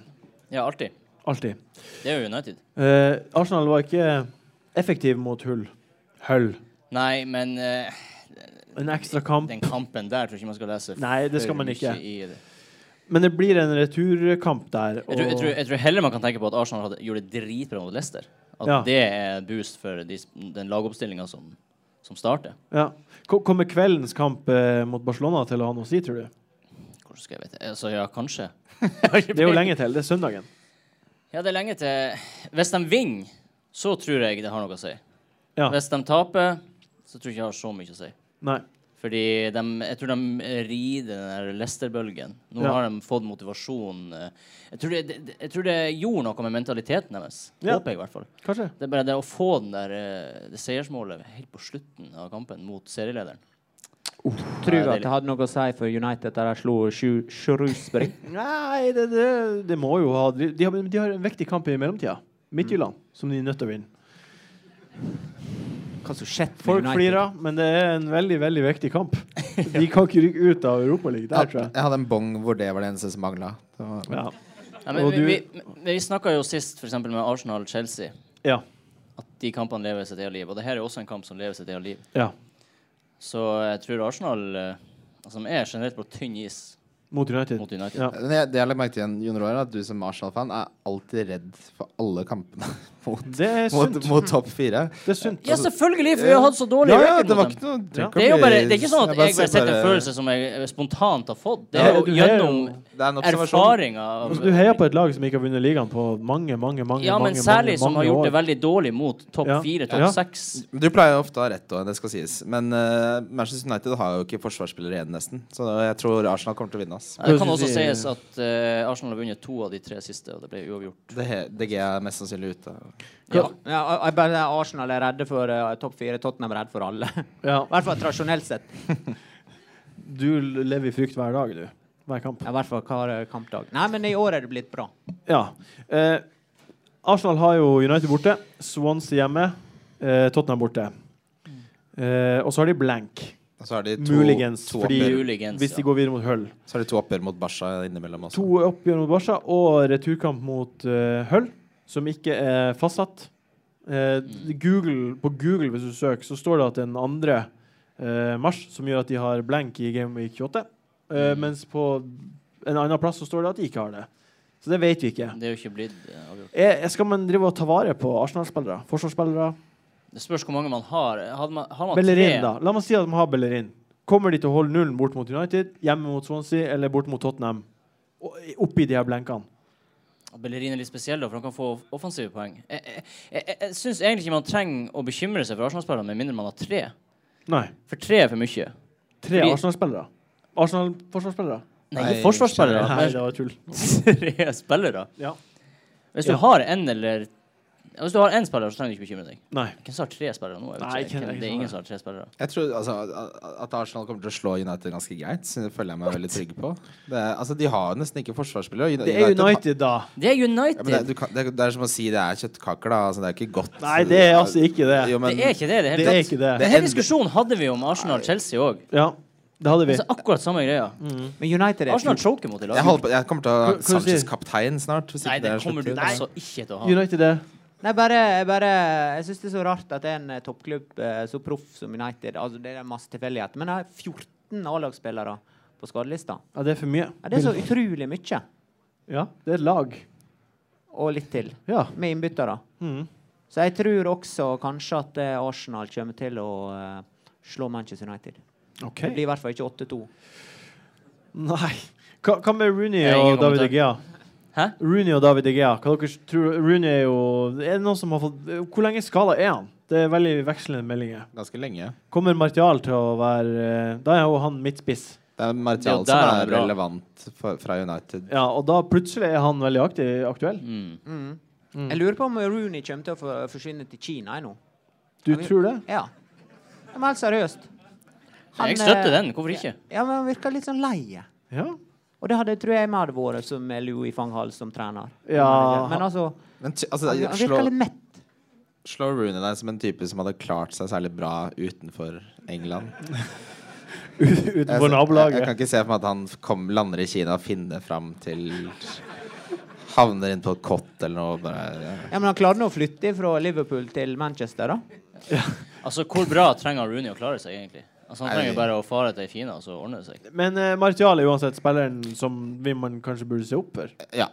Speaker 4: Ja, alltid.
Speaker 1: Alltid.
Speaker 4: Det er jo United.
Speaker 1: Eh, Arsenal var ikke effektiv mot hull. Hull.
Speaker 4: Nei, men eh,
Speaker 1: En ekstra kamp.
Speaker 4: den kampen der tror jeg ikke man skal lese.
Speaker 1: Nei, det skal
Speaker 4: for
Speaker 1: man
Speaker 4: mye
Speaker 1: ikke.
Speaker 4: i det.
Speaker 1: Men det blir en returkamp der.
Speaker 4: Jeg tror, jeg, tror,
Speaker 1: Og
Speaker 4: jeg tror heller man kan tenke på at Arsenal hadde, gjorde det dritbra mot Leicester. At
Speaker 1: Ja.
Speaker 4: det er boost for de, den lagoppstillinga som, som starter.
Speaker 1: ja. Ko- Kommer kveldens kamp eh, mot Barcelona til å ha noe å si, tror du?
Speaker 4: Hvordan skal jeg vite? Altså, ja, kanskje.
Speaker 1: Det er jo lenge til. Det er søndagen.
Speaker 4: Ja, det er lenge til Hvis de vinner, så tror jeg det har noe å si.
Speaker 1: Ja.
Speaker 4: Hvis de taper, så tror jeg ikke det har så mye å si.
Speaker 1: Nei.
Speaker 4: Fordi de, jeg tror de rider den der Leicester-bølgen. Nå
Speaker 1: Ja.
Speaker 4: har de fått motivasjon. eh, Jeg tror det, det, jeg tror det gjorde noe med mentaliteten deres.
Speaker 1: Ja.
Speaker 4: Håper jeg, i hvert fall.
Speaker 1: Kanskje.
Speaker 4: Det er bare det å få den der, eh, det seiersmålet helt på slutten av kampen mot serielederen.
Speaker 2: Tror
Speaker 4: Ja,
Speaker 2: du
Speaker 4: det er
Speaker 2: at det hadde noe å si for United der de slo Shrew- Shrewsbury?
Speaker 1: Nei, det, det, det må jo ha De de har, de har en vektig kamp i mellomtida. Midtjylland,
Speaker 4: Mm.
Speaker 1: som de er nødt til å vinne.
Speaker 2: Hva som skjedde med
Speaker 1: Folk
Speaker 2: United?
Speaker 1: flirer, men det er en veldig veldig vektig kamp. De kan ikke rykke ut av Europaligaen der, tror jeg.
Speaker 3: Jeg hadde en bong hvor det var det eneste som mangla.
Speaker 1: Ja.
Speaker 4: Nei, men
Speaker 1: Og
Speaker 4: vi
Speaker 1: du-
Speaker 4: vi, men vi snakka jo sist for eksempel med Arsenal-Chelsea
Speaker 1: ja.
Speaker 4: at de kampene lever sitt eget liv. Og det her er også en kamp som lever sitt eget liv.
Speaker 1: ja.
Speaker 4: Så jeg tror Arsenal, eh, som er generelt på tynn is
Speaker 1: Mot United.
Speaker 4: mot United
Speaker 1: Ja.
Speaker 3: Det jeg har lagt merke til, igjen, Jon Roar, er at du som Arsenal-fan er alltid redd for alle kampene mot,
Speaker 1: Det er
Speaker 3: mot,
Speaker 1: sunt.
Speaker 3: mot topp fire.
Speaker 1: Det er sunt.
Speaker 4: Ja, selvfølgelig! For vi har hatt så dårlig
Speaker 3: Ja, ja,
Speaker 4: record
Speaker 3: det
Speaker 4: mot
Speaker 3: var
Speaker 4: dem.
Speaker 3: ikke noe
Speaker 1: Ja.
Speaker 4: Det er jo bare, det er ikke sånn at
Speaker 3: Jeg bare
Speaker 4: jeg bare
Speaker 3: ser
Speaker 4: setter en
Speaker 3: bare-
Speaker 4: følelse som jeg eh, spontant har fått. Det
Speaker 1: Ja,
Speaker 4: er jo
Speaker 1: du heier
Speaker 4: gjennom
Speaker 1: jo-
Speaker 3: Det er en observasjon.
Speaker 4: erfaringer. av-
Speaker 1: Altså, du heier på et lag som ikke har vunnet ligaen på mange, mange mange,
Speaker 4: Ja, men
Speaker 1: mange,
Speaker 4: særlig
Speaker 1: mange,
Speaker 4: som har
Speaker 1: mange
Speaker 4: gjort
Speaker 1: år.
Speaker 4: det veldig dårlig mot topp
Speaker 1: Ja. Ja.
Speaker 4: fire, topp seks.
Speaker 3: Men Du pleier jo ofte å ha rett, da, det skal sies. Men eh, Manchester United har jo ikke forsvarsspillere igjen, nesten. Så jeg tror Arsenal kommer til å vinne. Ass.
Speaker 4: Det kan
Speaker 1: Hvordan
Speaker 4: også
Speaker 1: sier-
Speaker 4: sies at eh, Arsenal har vunnet to av de tre siste, og det ble uavgjort.
Speaker 3: Det he- DG er mest sannsynlig ute.
Speaker 2: Ja. ja jeg- jeg bare, Arsenal er redde for eh, topp fire. Tottenham er redde for alle. I
Speaker 1: Ja.
Speaker 2: hvert fall tradisjonelt sett.
Speaker 1: Du lever i frykt hver dag, du. Hver kamp.
Speaker 2: Ja, I hvert fall hver kampdag. Nei, men i år er det blitt bra.
Speaker 1: Ja. Eh, Arsenal har jo United borte, Swansea hjemme, eh, Tottenham borte. Eh, og så har de blank,
Speaker 3: Og så har de to,
Speaker 1: muligens,
Speaker 3: to,
Speaker 1: fordi
Speaker 3: oppgjør,
Speaker 4: Muligens,
Speaker 1: hvis de
Speaker 4: ja.
Speaker 1: går videre mot Hull.
Speaker 3: så har de to oppgjør mot Barca innimellom også.
Speaker 1: To oppgjør mot Barca og returkamp mot eh, Hull, som ikke er fastsatt. Eh, Google, på Google, hvis du søker, så står det at den andre eh, mars, som gjør at de har blank i Game Week 28, eh, mens på en annen plass så står det at de ikke har det. Så det vet vi ikke.
Speaker 4: Det er jo ikke blitt eh, avgjort.
Speaker 1: Er, er- skal man drive og ta vare på Arsenal-spillere? Forsvarsspillere?
Speaker 4: Det spørs hvor mange man har. Hadde man, har man
Speaker 1: Bellerin,
Speaker 4: tre-
Speaker 1: da. La meg si at de har Bellerin. Kommer de til å holde nullen bort mot United, hjemme mot Swansea eller bort mot Tottenham? Og- eh, Oppi de her blenkene.
Speaker 4: Bellerin er litt spesiell, da, for han kan få offensive poeng. Jeg, jeg, jeg, jeg syns egentlig ikke man trenger å bekymre seg for Arsenal-spillere med mindre man har tre.
Speaker 1: Nei.
Speaker 4: For tre er for mye.
Speaker 1: Tre
Speaker 4: Fordi-
Speaker 1: Arsenal-spillere. Arsenal-forsvarsspillere.
Speaker 4: Nei,
Speaker 3: Nei,
Speaker 4: forsvarsspillere.
Speaker 1: Nei, det var tull.
Speaker 4: Men tre spillere.
Speaker 1: Ja.
Speaker 4: Hvis du
Speaker 1: Ja.
Speaker 4: har en eller ja, Hvis du har én spiller, så trenger du ikke bekymre deg.
Speaker 1: Nei.
Speaker 4: Hvem som har tre spillere nå? Jeg vet
Speaker 1: Nei,
Speaker 4: ikke.
Speaker 1: hvem-
Speaker 4: Hvem-
Speaker 1: hvem
Speaker 4: det er ingen
Speaker 1: som
Speaker 4: som har tre spillere.
Speaker 3: Jeg tror altså, at- at Arsenal kommer til å slå United ganske greit. så Det føler jeg meg veldig trygg på. Det er, altså, de har jo nesten ikke forsvarsspillere. og
Speaker 1: Det er
Speaker 3: har-
Speaker 1: United, da.
Speaker 4: Det er
Speaker 3: Ja, men
Speaker 4: United!
Speaker 3: det, er- du kan, det, er- det er som å si det er kjøttkaker, da. Altså, det er ikke godt.
Speaker 1: Nei, det er altså ikke det.
Speaker 3: Jo, men-
Speaker 4: det er ikke det. Det,
Speaker 1: Det er ikke det.
Speaker 4: Denne diskusjonen hadde vi om Arsenal-Chelsea òg.
Speaker 1: Ja, det hadde vi.
Speaker 4: Altså, akkurat samme greia.
Speaker 1: Mm.
Speaker 2: Men United er
Speaker 4: Arsenal choker mot i
Speaker 3: jeg,
Speaker 4: lag.
Speaker 3: holder på, jeg kommer til å
Speaker 1: Hva- hva
Speaker 3: ha Sanchez
Speaker 1: sier-
Speaker 3: kaptein snart. Hvis
Speaker 4: Nei,
Speaker 3: ikke
Speaker 4: det
Speaker 3: er
Speaker 4: kommer du
Speaker 3: slutt.
Speaker 4: altså ikke til å ha.
Speaker 1: United er
Speaker 2: Nei, bare, bare Jeg syns det er så rart at en eh, toppklubb eh, så proff som United altså Det er masse tilfeldigheter, men det er 14 A-lagsspillere på skadelista.
Speaker 1: Ja, det er for mye.
Speaker 2: Ja, det er så utrolig mye.
Speaker 1: Ja, det er et lag.
Speaker 2: Og litt til.
Speaker 1: Ja.
Speaker 2: Med innbyttere.
Speaker 1: Mhm.
Speaker 2: Så jeg tror også kanskje at eh, Arsenal kommer til å eh, slå Manchester United.
Speaker 1: OK.
Speaker 2: Det blir i hvert fall ikke 8-2.
Speaker 1: Nei. Hva, hva med Rooney
Speaker 4: Jeg har ingen
Speaker 1: og David
Speaker 4: kommentar.
Speaker 1: De Gea?
Speaker 4: Hæ?
Speaker 1: Rooney og David De Gea. Hva dere tror, Rooney er jo Er det noen som har fått Hvor lenge skada er han? Det er veldig vekslende meldinger.
Speaker 3: Ganske lenge.
Speaker 1: Kommer Martial til å være eh, Da er jo han midtspiss.
Speaker 3: Det er
Speaker 4: Det er jo
Speaker 3: Martial
Speaker 4: der
Speaker 3: som
Speaker 4: han er
Speaker 3: er
Speaker 4: bra.
Speaker 3: relevant for, fra United.
Speaker 1: Ja, og da plutselig er han veldig aktiv, aktuell.
Speaker 4: Mm.
Speaker 1: Mm.
Speaker 2: Jeg lurer på om Rooney kommer til å få- forsvinne til Kina jeg, nå.
Speaker 1: Du tror det?
Speaker 2: Ja. Ja, Men helt seriøst. Han,
Speaker 4: Jeg støtter
Speaker 2: eh,
Speaker 4: den. Hvorfor ikke?
Speaker 2: Ja, men han virker litt sånn lei.
Speaker 1: Ja.
Speaker 2: Og det hadde, tror jeg vi hadde vært som med Louis van Hall som trener.
Speaker 1: Ja.
Speaker 2: Men altså,
Speaker 3: Men ty, altså,
Speaker 2: han, han
Speaker 3: slå,
Speaker 2: virker litt mett.
Speaker 3: slå Rooney deg som en type som hadde klart seg særlig bra utenfor England? Jeg,
Speaker 1: Utenfor
Speaker 3: jeg, jeg kan
Speaker 1: nabolaget.
Speaker 3: ikke se for meg at han kom, lander i Kina og finner fram til Havner inn på et kott eller noe. Bare,
Speaker 2: Ja, Men han klarte nå å flytte fra Liverpool til Manchester, da.
Speaker 4: Altså, Hvor bra trenger Rooney å klare seg, egentlig? Altså, Han
Speaker 3: Nei,
Speaker 4: trenger
Speaker 3: det-
Speaker 4: bare å fare til Kina, og så ordner det seg.
Speaker 1: Men eh, Martial er uansett spilleren som vi man kanskje burde se opp for.
Speaker 3: ja.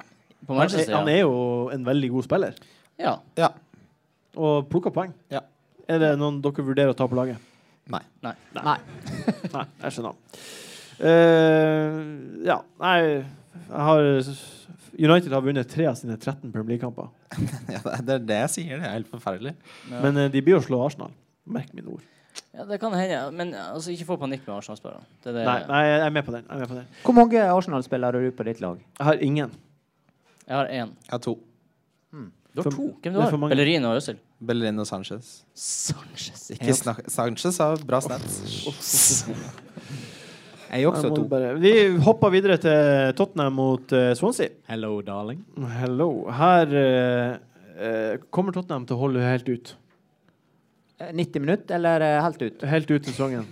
Speaker 4: På
Speaker 1: Han er,
Speaker 4: Manchester,
Speaker 1: han
Speaker 4: ja.
Speaker 1: er jo en veldig god spiller,
Speaker 4: ja.
Speaker 3: ja.
Speaker 1: og plukker poeng.
Speaker 3: Ja.
Speaker 1: Er det noen dere vurderer å ta på laget?
Speaker 3: Nei.
Speaker 4: Nei.
Speaker 2: Nei.
Speaker 1: Nei, jeg skjønner. Eh, ja, nei jeg har, United har vunnet tre av sine 13 Premier League-kamper.
Speaker 3: Ja, det er det jeg sier. Det er helt forferdelig.
Speaker 1: Men eh, de blir å slå Arsenal. Merk mine ord.
Speaker 4: Ja, det kan hende. Men altså, ikke få panikk med Arsenal-spillerne. Det er det-
Speaker 1: Nei, nei, jeg er med på den. Jeg, er med på den.
Speaker 2: Hvor mange Arsenal-spillere har du på ditt lag?
Speaker 1: jeg har ingen.
Speaker 4: Jeg har én.
Speaker 3: Jeg har to.
Speaker 4: Du har
Speaker 1: For-
Speaker 4: to. Hvem
Speaker 1: det
Speaker 4: du
Speaker 1: er
Speaker 4: har
Speaker 1: for mange.
Speaker 4: Bellerin og Øzil.
Speaker 3: Bellerin og Sanchez.
Speaker 4: Sanchez.
Speaker 3: Ikke snak Sanchez har bra stats.
Speaker 2: Jeg er
Speaker 1: Jeg
Speaker 2: også
Speaker 1: må
Speaker 2: to.
Speaker 1: bare- Vi hopper videre til Tottenham mot eh, Swansea.
Speaker 2: Hello, darling.
Speaker 1: Hello. Her eh, eh, kommer Tottenham til å holde helt ut.
Speaker 2: Eh, 90 minutter, eller eh, helt ut?
Speaker 1: Helt ut til sesongen.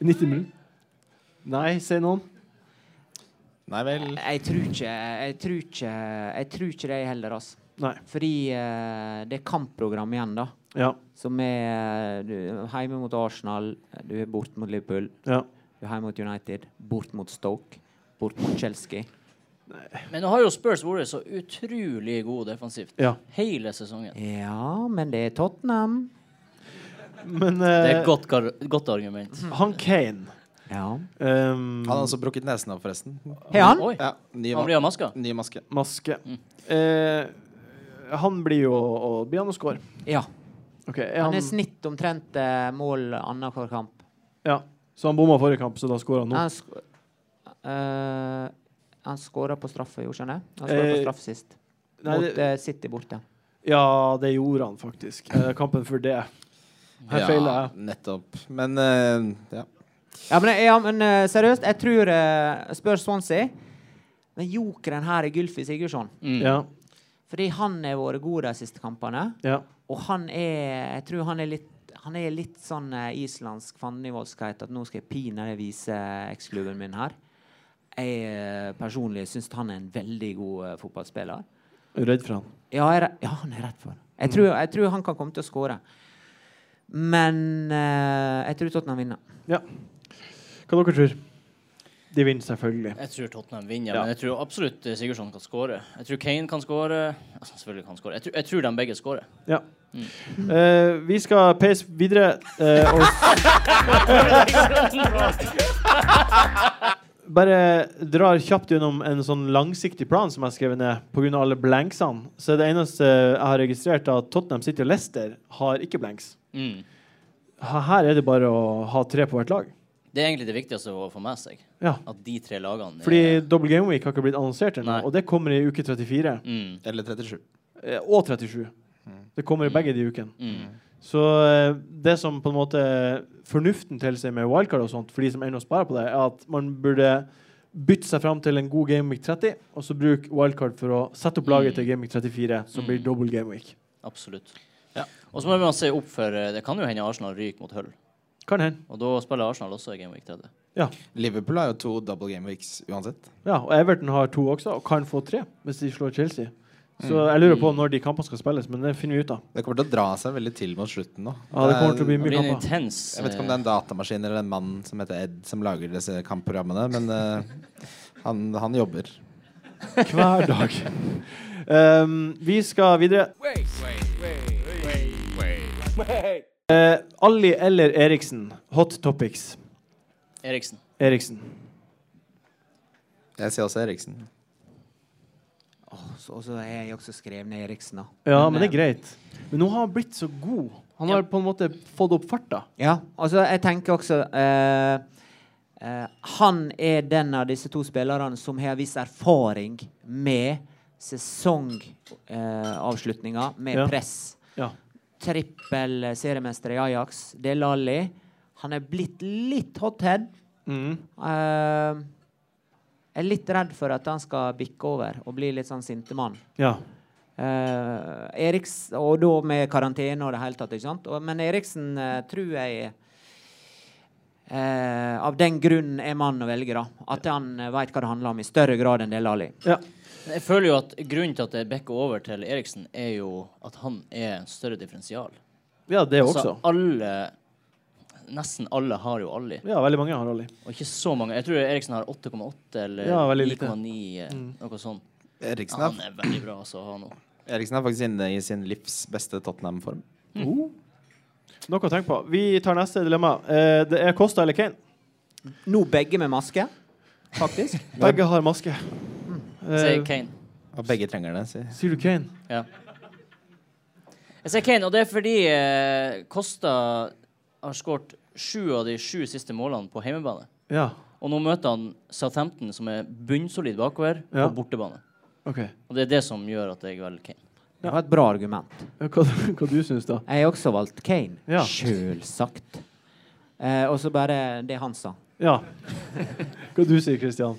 Speaker 1: 90 minutter. Nei, sier noen.
Speaker 3: Nei vel.
Speaker 2: Jeg tror ikke Jeg tror ikke, jeg tror ikke det heller, altså.
Speaker 1: Nei.
Speaker 2: Fordi eh, det er kampprogram igjen, da.
Speaker 1: Ja.
Speaker 2: Som er eh, du, er hjemme mot Arsenal, du er bort mot Liverpool,
Speaker 1: ja.
Speaker 2: du er hjemme mot United, bort mot Stoke, bort mot Chelsea.
Speaker 4: Men nå har jo Spurs vært så utrolig god defensivt
Speaker 1: Ja. Eh.
Speaker 4: hele sesongen.
Speaker 2: Ja, men det er Tottenham.
Speaker 1: Men
Speaker 4: Det er
Speaker 1: eh,
Speaker 4: et godt, gar- godt argument.
Speaker 1: han Kane
Speaker 2: Ja.
Speaker 1: ehm,
Speaker 3: Han har også brukket nesen opp, forresten.
Speaker 2: Har han?
Speaker 4: Oi,
Speaker 3: Ja, ny,
Speaker 4: han blir av maska.
Speaker 3: ny maske.
Speaker 1: Maske. Eh, han blir jo å blir han å score.
Speaker 2: ja.
Speaker 1: Ok, er
Speaker 2: Han
Speaker 1: han,
Speaker 2: er snitt omtrent eh, mål annenhver kamp.
Speaker 1: ja. Så han bomma forrige kamp, så da scorer han nå.
Speaker 2: Han, sk eh, han skåra på straffe, gjorde han det? Han skåra
Speaker 1: Eh,
Speaker 2: på straffe sist.
Speaker 1: Nei,
Speaker 2: mot
Speaker 1: det,
Speaker 2: eh, City borte.
Speaker 1: ja, det gjorde han faktisk. Eh, kampen før det. Her feiler jeg.
Speaker 3: nettopp. Men eh, ja.
Speaker 2: Ja, men, ja, men eh, seriøst, jeg tror eh, Spør Swansea. Men jokeren her er Gylfi Sigurdsson.
Speaker 4: Mm.
Speaker 1: Ja,
Speaker 2: Fordi han har vært god de siste kampene.
Speaker 1: ja.
Speaker 2: Og han er Jeg tror han er litt han er litt sånn eh, islandsk fandenivoldskhet at nå skal jeg pinadø vise eksklubben min her. Jeg eh, personlig syns han er en veldig god eh, fotballspiller.
Speaker 1: Redd for han.
Speaker 2: Ja, jeg, er re- ja, han er rett for. Jeg tror, jeg tror han kan komme til å skåre. Men eh, jeg tror Tottenham vinner.
Speaker 1: Ja. Hva dere tror? De vinner selvfølgelig.
Speaker 4: Jeg tror Tottenham vinner,
Speaker 1: Ja.
Speaker 4: men jeg tror absolutt eh, Sigurdsson kan skåre. Jeg tror Kane kan skåre. Altså, selvfølgelig kan han skåre. Jeg, tror- jeg tror de begge skårer.
Speaker 1: Ja.
Speaker 4: Mm.
Speaker 1: Eh, vi skal peise videre. eh, og Bare drar kjapt gjennom en sånn langsiktig plan som jeg har skrevet ned. På grunn av alle blanksene. Så det eneste jeg har registrert, er at Tottenham City og Leicester har ikke blanks.
Speaker 4: Mm.
Speaker 1: Her her er det bare å ha tre på hvert lag.
Speaker 4: Det er egentlig det viktigste å få med seg.
Speaker 1: Ja.
Speaker 4: At de tre lagene er-
Speaker 1: Fordi Double Game Week har ikke blitt annonsert ennå,
Speaker 4: Nei.
Speaker 1: og det kommer i uke 34.
Speaker 4: mm.
Speaker 3: Eller Mm. 37.
Speaker 1: eh, Og 37. Det kommer i begge de ukene.
Speaker 4: Mm.
Speaker 1: Så eh, det som på en måte fornuften til seg med wildcard og sånt, for de som ennå sparer på det, er at man burde bytte seg fram til en god Gameweek 30, og så bruke wildcard for å sette opp laget til Gameweek 34, som blir double Gameweek.
Speaker 4: Absolutt. Og så må man se opp for eh, Det kan jo hende Arsenal ryker mot Hull.
Speaker 1: Kan hende.
Speaker 4: Og da spiller Arsenal også i Game Week 30.
Speaker 1: Ja.
Speaker 3: Liverpool har jo to double game weeks uansett.
Speaker 1: ja. Og Everton har to også, og kan få tre hvis de slår Chelsea. Så jeg lurer på når de kampene skal spilles, men det finner vi ut av.
Speaker 3: Det kommer til å dra seg veldig til mot slutten nå. Eh,
Speaker 1: Ja, det kommer til å bli
Speaker 4: Det
Speaker 1: mye
Speaker 4: blir en
Speaker 1: kamper.
Speaker 4: intens eh,
Speaker 3: Jeg vet ikke om det er en datamaskin eller en mann som heter Ed, som lager disse kampprogrammene, men eh, han, han jobber.
Speaker 1: Hver dag. Um, vi skal videre. Eh, Alli eller Eriksen? Hot topics.
Speaker 4: eh, Eriksen.
Speaker 1: Eriksen.
Speaker 3: Jeg sier også Eriksen.
Speaker 2: Og så og så har jeg også skrevet ned Eriksen, da. eh,
Speaker 1: Ja, men det er greit. Men nå har han blitt så god. Han har
Speaker 4: Ja.
Speaker 1: på en måte fått opp farta.
Speaker 2: Ja, altså jeg tenker også eh, eh, Han er den av disse to spillerne som har viss erfaring med sesongavslutninga med
Speaker 1: Ja.
Speaker 2: press.
Speaker 1: Ja.
Speaker 2: Trippel eh, seriemester i Ajax. Det er Lally. Han er blitt litt hothead.
Speaker 1: Mm.
Speaker 2: Eh, jeg er litt redd for at han skal bikke over og bli litt sånn sintemann.
Speaker 1: ja.
Speaker 2: Eh, Eriks, og da med karantene og det hele tatt. ikke sant? Og, men Eriksen eh, tror jeg eh, av den grunn er mann å velge. da. At han eh, vet hva det handler om, i større grad enn det Lali.
Speaker 1: ja.
Speaker 4: Jeg føler jo at grunnen til at det bikker over til Eriksen, er jo at han er en større differensial.
Speaker 1: Ja, det
Speaker 4: Så
Speaker 1: også.
Speaker 4: alle Nesten alle har jo Alli.
Speaker 1: Ja, veldig mange har Alli.
Speaker 4: Og ikke så mange. Jeg tror Eriksen har 8,8 eller
Speaker 1: Ja, veldig lite. Mm.
Speaker 4: 9,9. eh, Noe sånt. Ja,
Speaker 3: Eriksen
Speaker 4: han
Speaker 3: er,
Speaker 4: er veldig bra altså, å ha nå.
Speaker 3: Eriksen er faktisk inne i sin livs beste Tottenham-form.
Speaker 1: Mm. Oh. Noe å tenke på. Vi tar neste dilemma. Eh, det er Costa eller Kane.
Speaker 2: Nå begge med maske, faktisk.
Speaker 1: Begge har maske.
Speaker 4: Jeg sier
Speaker 1: Eh,
Speaker 4: Kane.
Speaker 3: Og begge trenger det, sier
Speaker 1: sier du Kane?
Speaker 4: Ja. Jeg sier Kane, og det er fordi eh, Costa har skåret sju av de sju siste målene på hjemmebane.
Speaker 1: Ja.
Speaker 4: Og nå møter han Southampton, som er bunnsolid bakover,
Speaker 1: Ja.
Speaker 4: på bortebane.
Speaker 1: OK.
Speaker 4: Og det er det som gjør at jeg velger Kane.
Speaker 2: Det var et bra argument.
Speaker 1: Ja, Hva, hva du syns da?
Speaker 2: Jeg har også valgt Kane.
Speaker 1: Ja.
Speaker 2: Sjølsagt. Eh, og så bare det han sa.
Speaker 1: Ja. Hva du sier Christian?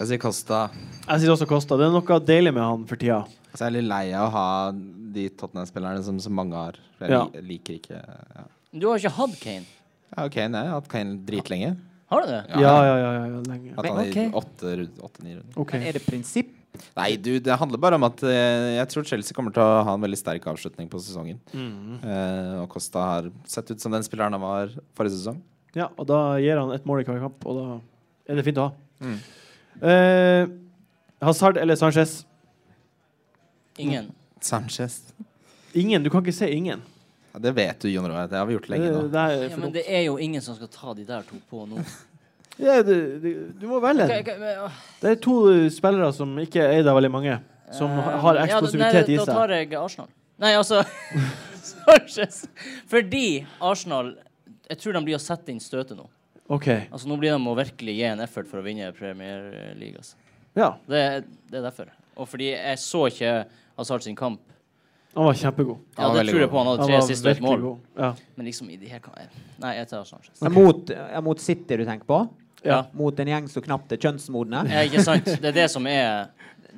Speaker 3: Jeg sier Costa.
Speaker 1: Jeg sier også Kosta. Det er noe deilig med han for tida.
Speaker 3: Altså, jeg er litt lei av å ha de Tottenham-spillerne som så mange har. Jeg
Speaker 1: Ja.
Speaker 3: li- liker ikke ja.
Speaker 4: Du har ikke hatt Kane.
Speaker 3: ja, ok, nei, jeg har hatt Kane dritlenge.
Speaker 4: Har du det?
Speaker 1: Ja, ja, ja. ja, ja lenge.
Speaker 3: Hatt
Speaker 2: Men
Speaker 3: han i
Speaker 2: ok.
Speaker 3: åtte rund- åtte-ni runder.
Speaker 1: OK.
Speaker 2: Er det prinsipp?
Speaker 3: Nei, du, det handler bare om at eh, jeg tror Chelsea kommer til å ha en veldig sterk avslutning på sesongen.
Speaker 1: Mm.
Speaker 3: Eh, og Costa har sett ut som den spilleren han var forrige sesong.
Speaker 1: Ja, og da gir han ett mål i hver kamp, og da er det fint å ha. Eh, Hazard eller Sanchez?
Speaker 4: Ingen.
Speaker 3: Sanchez.
Speaker 1: Ingen. Du kan ikke se ingen.
Speaker 3: Ja, det vet du, Jon Roar. Det har vi gjort
Speaker 1: Det,
Speaker 3: lenge nå.
Speaker 1: Eh, det er
Speaker 4: Ja,
Speaker 1: for
Speaker 4: men
Speaker 1: dumt.
Speaker 4: det er jo ingen som skal ta de der to på nå.
Speaker 1: Ja, du, du, du må velge
Speaker 4: Ok,
Speaker 1: en.
Speaker 4: ok, men, åh.
Speaker 1: Det er to spillere som ikke er da veldig mange, som ha- har
Speaker 4: Eh, ja, da-
Speaker 1: eksplosivitet
Speaker 4: nei,
Speaker 1: i
Speaker 4: Da
Speaker 1: seg.
Speaker 4: tar jeg Arsenal. Nei, altså Sanchez. Fordi Arsenal Jeg tror de blir å sette inn støtet nå.
Speaker 1: OK.
Speaker 4: Altså Nå blir de å virkelig gi en effort for å vinne Premier League. Altså.
Speaker 1: Ja,
Speaker 4: Det, er- det er derfor. Og fordi jeg så ikke Hazard sin kamp.
Speaker 1: han var kjempegod.
Speaker 4: Ja,
Speaker 3: Han var
Speaker 4: det
Speaker 3: veldig
Speaker 4: tror jeg
Speaker 3: god.
Speaker 4: på. Han hadde
Speaker 1: Han
Speaker 4: tre
Speaker 1: var
Speaker 4: siste og et
Speaker 1: virkelig
Speaker 4: mål.
Speaker 1: god. Ja.
Speaker 4: Men liksom i de her kan jeg Nei, jeg tar Sanchez.
Speaker 2: Er Mot, er mot City du tenker på?
Speaker 4: Ja.
Speaker 2: Mot en gjeng som knapt er kjønnsmodne?
Speaker 4: Ja, ikke sant? Det er det som er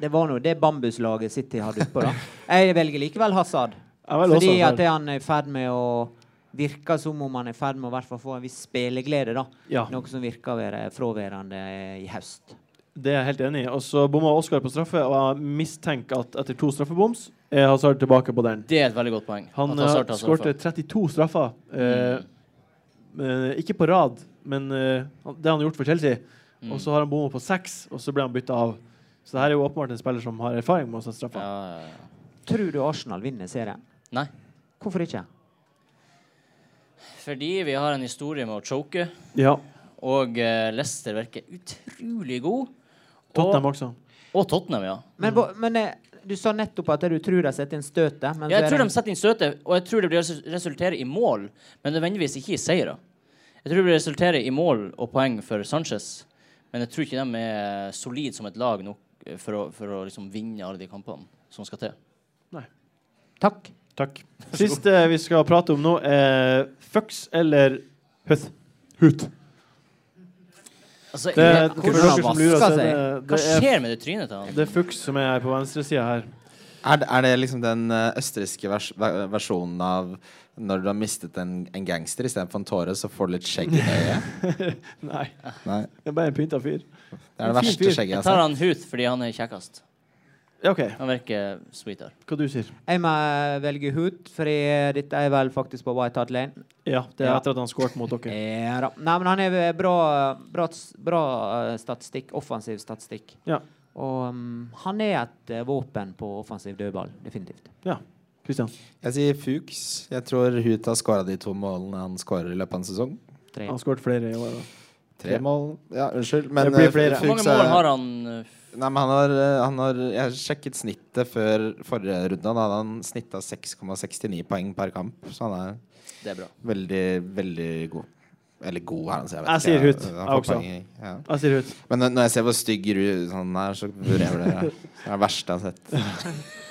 Speaker 2: Det var nå det bambuslaget City hadde utpå, da. Jeg velger likevel Hazard.
Speaker 1: Jeg velger også
Speaker 2: fordi
Speaker 1: Hazard.
Speaker 2: at det han er i ferd med å Virker som om han er i ferd med å i hvert fall få en viss spilleglede, da.
Speaker 1: Ja.
Speaker 2: Noe som virker å være fraværende i høst.
Speaker 1: Det er jeg helt enig i. Og så bomma Oskar på straffe, og jeg mistenker at etter to straffeboms er Hazard tilbake på den.
Speaker 4: Det er et veldig godt poeng.
Speaker 1: Han
Speaker 4: at altså Hazard
Speaker 1: eh,
Speaker 4: tar
Speaker 1: skårte
Speaker 4: straffa.
Speaker 1: 32 straffer. Eh,
Speaker 4: Mm.
Speaker 1: eh, ikke på rad, men eh, han- det han har gjort for Chelsea.
Speaker 4: Mm.
Speaker 1: Og så har han bomma på seks, og så ble han bytta av. Så det her er jo åpenbart en spiller som har erfaring med å sette straffer.
Speaker 4: Ja, ja, ja.
Speaker 2: Tror du Arsenal vinner serien?
Speaker 4: Nei.
Speaker 2: Hvorfor ikke?
Speaker 4: Fordi vi har en historie med å choke.
Speaker 1: Ja.
Speaker 4: Og eh, Leicester virker utrolig god.
Speaker 1: Tottenham også.
Speaker 4: Og Tottenham, ja.
Speaker 2: Men,
Speaker 1: Mm.
Speaker 2: bo- men eh, du sa nettopp at du tror de setter inn støtet. Men
Speaker 4: Jeg
Speaker 2: så er
Speaker 4: tror de
Speaker 2: det-
Speaker 4: setter inn støtet, og jeg tror det blir resu- resultere i mål, men nødvendigvis ikke i seire. Jeg tror det blir resultere i mål og poeng for Sanchez, men jeg tror ikke de er solide som et lag nok eh, for å, for å liksom vinne alle de kampene som skal til.
Speaker 2: Takk.
Speaker 1: Takk. Siste vi skal prate om nå, er Fux eller Huth. Huth.
Speaker 4: Altså,
Speaker 1: Det,
Speaker 4: jeg-
Speaker 1: for
Speaker 4: hvordan
Speaker 1: dere
Speaker 4: han
Speaker 1: som lurer,
Speaker 4: vasker
Speaker 1: så er
Speaker 4: seg.
Speaker 1: det,
Speaker 4: Hva
Speaker 1: det er
Speaker 4: skjer med det trynet til han?
Speaker 1: det er Fux som er på venstresida her.
Speaker 3: Er, det- er det liksom den eh, østerrikske vers ver- versjonen av når du har mistet en, en gangster istedenfor en tåre, så får du litt skjegg i øyet?
Speaker 1: Nei,
Speaker 3: Nei,
Speaker 1: det er bare en pynta fyr.
Speaker 3: det er det
Speaker 1: En fin fyr.
Speaker 3: verste skjegget
Speaker 4: Jeg
Speaker 3: jeg
Speaker 4: tar
Speaker 3: har sett.
Speaker 4: han Huth fordi han er kjekkest.
Speaker 1: Ja, OK.
Speaker 4: Han virker sweetere.
Speaker 1: Hva du sier
Speaker 2: Jeg må velge Hoot, for dette er vel faktisk på White Hart Lane.
Speaker 1: Ja, det er
Speaker 2: Ja.
Speaker 1: etter at han skåret mot
Speaker 4: Eh.
Speaker 1: dere.
Speaker 2: Ja da. Nei, men han er eh, bra, bra, bra eh, statistikk. Offensiv statistikk.
Speaker 1: Ja.
Speaker 2: Og mm, han er et eh, våpen på offensiv dødball, definitivt.
Speaker 1: ja. Christian.
Speaker 3: Jeg sier Fuchs. Jeg tror Hut har skåra de to målene han skårer i løpet av en sesong.
Speaker 2: Tre.
Speaker 1: Han har skåret flere i år. Da.
Speaker 3: Tre mål. Ja, unnskyld, men
Speaker 1: Det blir
Speaker 3: eh,
Speaker 1: flere.
Speaker 4: Hvor mange
Speaker 3: er-
Speaker 4: mål har han? eh,
Speaker 3: Nei, men han har, eh, han har Jeg har sjekket snittet før forrige runde. Da hadde han snitta 6,69 poeng per kamp. Så han er
Speaker 4: Det er bra.
Speaker 3: veldig, veldig god. Eller god, er han, så jeg vet
Speaker 1: Jeg sier
Speaker 3: ikke.
Speaker 1: Hut,
Speaker 3: Han
Speaker 1: jeg
Speaker 3: får
Speaker 1: også.
Speaker 3: poeng i- Ja.
Speaker 1: Jeg sier Huth.
Speaker 3: Men når- når jeg ser hvor stygg Ru han er, så vurderer jeg det. Det er det verste jeg har sett.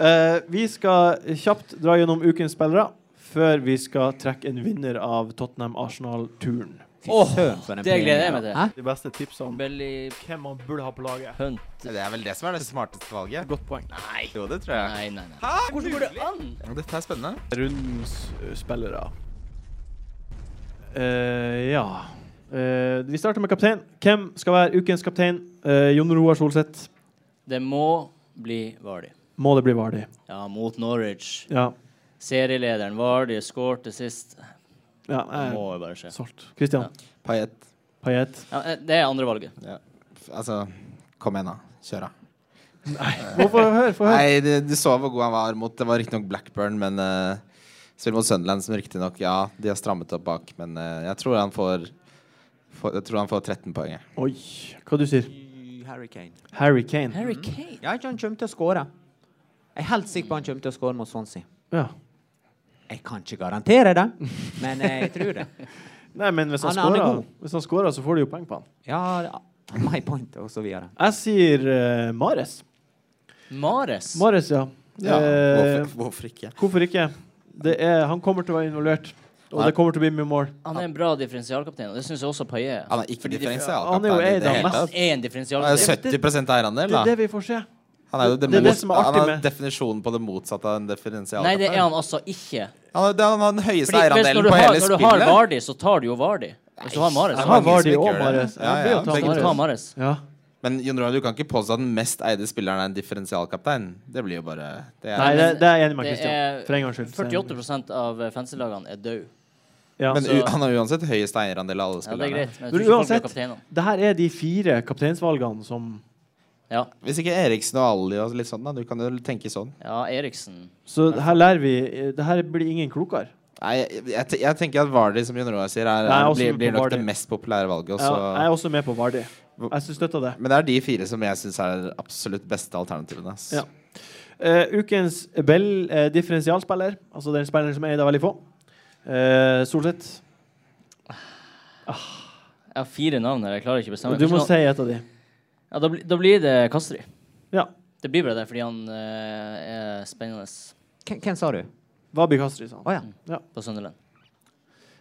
Speaker 1: Eh, vi skal kjapt dra gjennom ukens spillere før vi skal trekke en vinner av Tottenham-Arsenal-turen.
Speaker 4: Åh,
Speaker 2: søren, for en
Speaker 4: det
Speaker 2: premie.
Speaker 4: gleder jeg meg til.
Speaker 2: Hæ?
Speaker 1: De beste tipsene
Speaker 4: Belly
Speaker 1: hvem man burde ha på laget.
Speaker 4: Hunt.
Speaker 3: Det er vel det som er det smarteste valget.
Speaker 1: Godt poeng.
Speaker 4: Nei.
Speaker 3: Jo, det tror jeg.
Speaker 4: Nei, nei, nei. Hvordan går det an?
Speaker 3: Dette er spennende.
Speaker 1: Rundens eh, spillere. Eh, ja Eh, Vi starter med kaptein. Hvem skal være ukens kaptein? Eh, Jon Roar Solseth.
Speaker 4: Det må bli Vardy.
Speaker 1: Må det bli Vardi.
Speaker 4: Ja, mot Norwich.
Speaker 1: Ja.
Speaker 4: Serielederen Vardy skårte sist.
Speaker 1: ja
Speaker 4: Det
Speaker 1: jeg
Speaker 4: må jo bare skje.
Speaker 1: er solgt. Christian.
Speaker 4: Ja.
Speaker 3: Payet.
Speaker 1: Payet.
Speaker 4: Ja, eh, det er andre valget.
Speaker 3: Ja. F- Altså, kom igjen, da. Kjør, da. Eh,
Speaker 1: Må få høre. Få høre.
Speaker 3: Nei, du, du så hvor god han var mot Det var riktignok Blackburn, men uh, Spiller mot Sunderland, som riktignok Ja, de har strammet opp bak, men eh, jeg tror han får, får Jeg tror han får 13 poeng. jeg.
Speaker 1: Oi. Hva du sier
Speaker 2: Harry Kane.
Speaker 1: Harry Kane.
Speaker 4: Harry Kane.
Speaker 2: Ja, ikke han kommer til å skåre. Jeg er helt sikker på han kommer til å skåre mot Swansea.
Speaker 1: Ja.
Speaker 2: Jeg kan ikke garantere det, men jeg tror det.
Speaker 1: Nei, men hvis han,
Speaker 2: Han- han er
Speaker 1: scorer,
Speaker 2: god.
Speaker 1: hvis han scorer, så får du jo poeng på han.
Speaker 2: Ja, my point, og så videre.
Speaker 1: Jeg sier eh, Mares.
Speaker 4: Mares.
Speaker 1: Mares, ja.
Speaker 3: Ja,
Speaker 1: Eh,
Speaker 3: hvorfor, hvorfor ikke?
Speaker 1: hvorfor ikke? Det er, han kommer til å være involvert. Og
Speaker 3: Nei.
Speaker 1: det kommer til å bli mye mål.
Speaker 4: Han er en bra differensialkaptein, og det syns jeg også Paillet.
Speaker 3: Han er ikke
Speaker 4: Fordi de-
Speaker 1: han er jo eid
Speaker 3: differensialkaptein i
Speaker 1: av
Speaker 3: det
Speaker 1: Messi.
Speaker 3: hele
Speaker 4: Han
Speaker 3: tatt.
Speaker 4: er en
Speaker 3: Han er
Speaker 4: differensialkaptein.
Speaker 3: 70 eierandel,
Speaker 1: Det
Speaker 3: da.
Speaker 1: er det vi får se.
Speaker 3: Han er jo det,
Speaker 1: det er det
Speaker 3: mot-
Speaker 1: som er artig
Speaker 3: han
Speaker 1: med-
Speaker 3: definisjonen på det motsatte av en differensialkaptein.
Speaker 4: Nei, det er han altså ikke.
Speaker 3: Han, er- det er- han har den høyeste
Speaker 4: Fordi, hvis når
Speaker 3: eierandelen
Speaker 4: du
Speaker 3: på
Speaker 4: har,
Speaker 3: hele
Speaker 4: når du har
Speaker 3: spillet.
Speaker 4: Vardi, så tar du jo Vardi. Hvis du har Mares,
Speaker 1: Jeg
Speaker 4: så
Speaker 1: har
Speaker 3: mange
Speaker 1: Vardy
Speaker 3: som
Speaker 1: og
Speaker 3: ikke gjør det.
Speaker 1: Mares.
Speaker 3: Ja,
Speaker 1: Jeg blir
Speaker 3: ja,
Speaker 1: å ta
Speaker 3: begge
Speaker 4: må du ta
Speaker 1: Mahrez.
Speaker 4: Mares.
Speaker 1: Ja.
Speaker 3: Men Jon Roar, du kan ikke påstå at den mest eide spilleren er en differensialkaptein. Det blir jo bare det er,
Speaker 1: Nei, det, det er jeg enig med
Speaker 4: Det
Speaker 1: Christian.
Speaker 4: er
Speaker 1: For en gangs skyld. så er jeg enig.
Speaker 4: 48 av eh, fantasy-lagene er døde.
Speaker 1: Ja.
Speaker 3: Men
Speaker 4: så-
Speaker 3: u han har uansett høyest eierandel av alle
Speaker 4: Ja, det er
Speaker 3: spillerne.
Speaker 4: greit. Men jeg
Speaker 1: Men
Speaker 4: tror ikke folk
Speaker 1: uansett-
Speaker 4: blir kapteinene.
Speaker 1: Det her er de fire kapteinsvalgene som
Speaker 4: Ja.
Speaker 3: Hvis ikke Eriksen og Ali og litt sånn, da. Du kan jo tenke sånn.
Speaker 4: ja, Eriksen.
Speaker 1: Så her lærer vi eh, Det her blir ingen klokere.
Speaker 3: Nei, jeg, jeg, te- jeg tenker at Vardy, som Jon Roar sier, er,
Speaker 1: Nei, jeg er også
Speaker 3: blir,
Speaker 1: med
Speaker 3: blir
Speaker 1: på
Speaker 3: nok
Speaker 1: Vardy.
Speaker 3: det mest populære valget. og
Speaker 1: Ja,
Speaker 3: så-
Speaker 1: jeg er også med på Vardy. Jeg synes- støtter det.
Speaker 3: Men det er de fire som jeg syns er absolutt beste alternativene. ass.
Speaker 1: Ja. Eh, ukens Bell eh, differensialspiller, altså den spilleren som er eid av veldig få, eh, Solseth.
Speaker 4: Jeg har fire navn her, jeg klarer ikke å bestemme.
Speaker 1: Du må
Speaker 4: Kanskje
Speaker 1: si et av de.
Speaker 4: han- ja, da, bli- da blir det Kastri.
Speaker 1: Ja.
Speaker 4: Det blir bare det, fordi han eh, er spennende
Speaker 2: Hvem, hvem sa du?
Speaker 1: Vabi Kastri, sa
Speaker 2: Å
Speaker 1: han.
Speaker 2: ja.
Speaker 4: på Sunderland.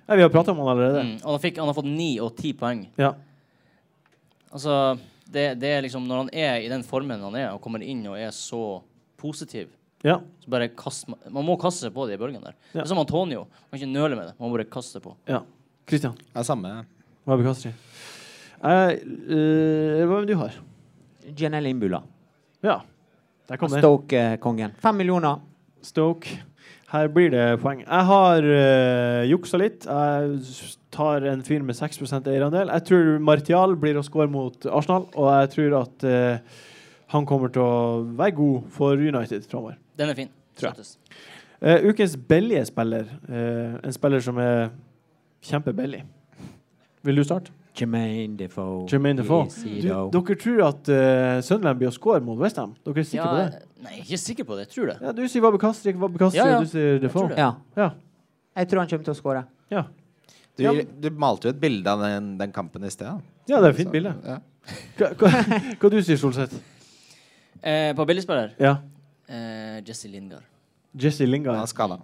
Speaker 1: Ja, vi har prata om han allerede.
Speaker 4: Mm. Og han, fikk, han har fått ni og ti poeng.
Speaker 1: Ja.
Speaker 4: Altså, det, det er liksom Når han er i den formen han er, og kommer inn og er så positiv
Speaker 1: ja.
Speaker 4: så bare kast, Man må kaste seg på de bølgene der.
Speaker 1: Ja.
Speaker 4: Det er som Antonio. Man kan ikke nøle med det. Man må bare kaste seg på.
Speaker 1: ja. Christian.
Speaker 3: Det er samme.
Speaker 1: Vabi Kastri. Eh, eh, hva er det du har?
Speaker 2: Janelle Imbula.
Speaker 1: Ja. Der kom den.
Speaker 2: Stoke-kongen. Fem millioner.
Speaker 1: Stoke. Her blir det poeng. Jeg har eh, juksa litt. Jeg s- tar en fyr med 6 eierandel. Jeg tror Martial blir å score mot Arsenal, og jeg tror at eh, han kommer til å være god for United framover.
Speaker 4: Den er fin.
Speaker 1: Tror jeg.
Speaker 4: Støttes.
Speaker 1: Eh, ukens billige spiller, eh, en spiller som er kjempebillig. Vil du starte?
Speaker 2: Jermaine Defoe.
Speaker 1: Jermaine Defoe. Du, dere tror at eh, Sunderland blir å score mot Westham? Dere er sikre
Speaker 4: Ja,
Speaker 1: på det?
Speaker 4: Nei, jeg er ikke sikker på det. Jeg tror det.
Speaker 1: Ja, du sier Vabbe Kastrik, Vabbe Kastrik,
Speaker 4: Ja, ja.
Speaker 1: og du sier
Speaker 4: tror
Speaker 1: Defoe.
Speaker 4: det.
Speaker 2: Ja.
Speaker 1: Ja.
Speaker 2: Jeg tror han kommer til å skåre.
Speaker 1: Ja.
Speaker 3: Du,
Speaker 1: Ja.
Speaker 3: du malte jo et bilde av den, den kampen i sted. da.
Speaker 1: ja, det er et fint bilde.
Speaker 3: Ja.
Speaker 1: Hva, hva, hva du sier Solseth?
Speaker 4: Eh, på billigspiller
Speaker 1: Ja.
Speaker 4: eh, Jesse Lingard.
Speaker 1: Jesse
Speaker 3: Han er
Speaker 1: Lingard.
Speaker 3: skada.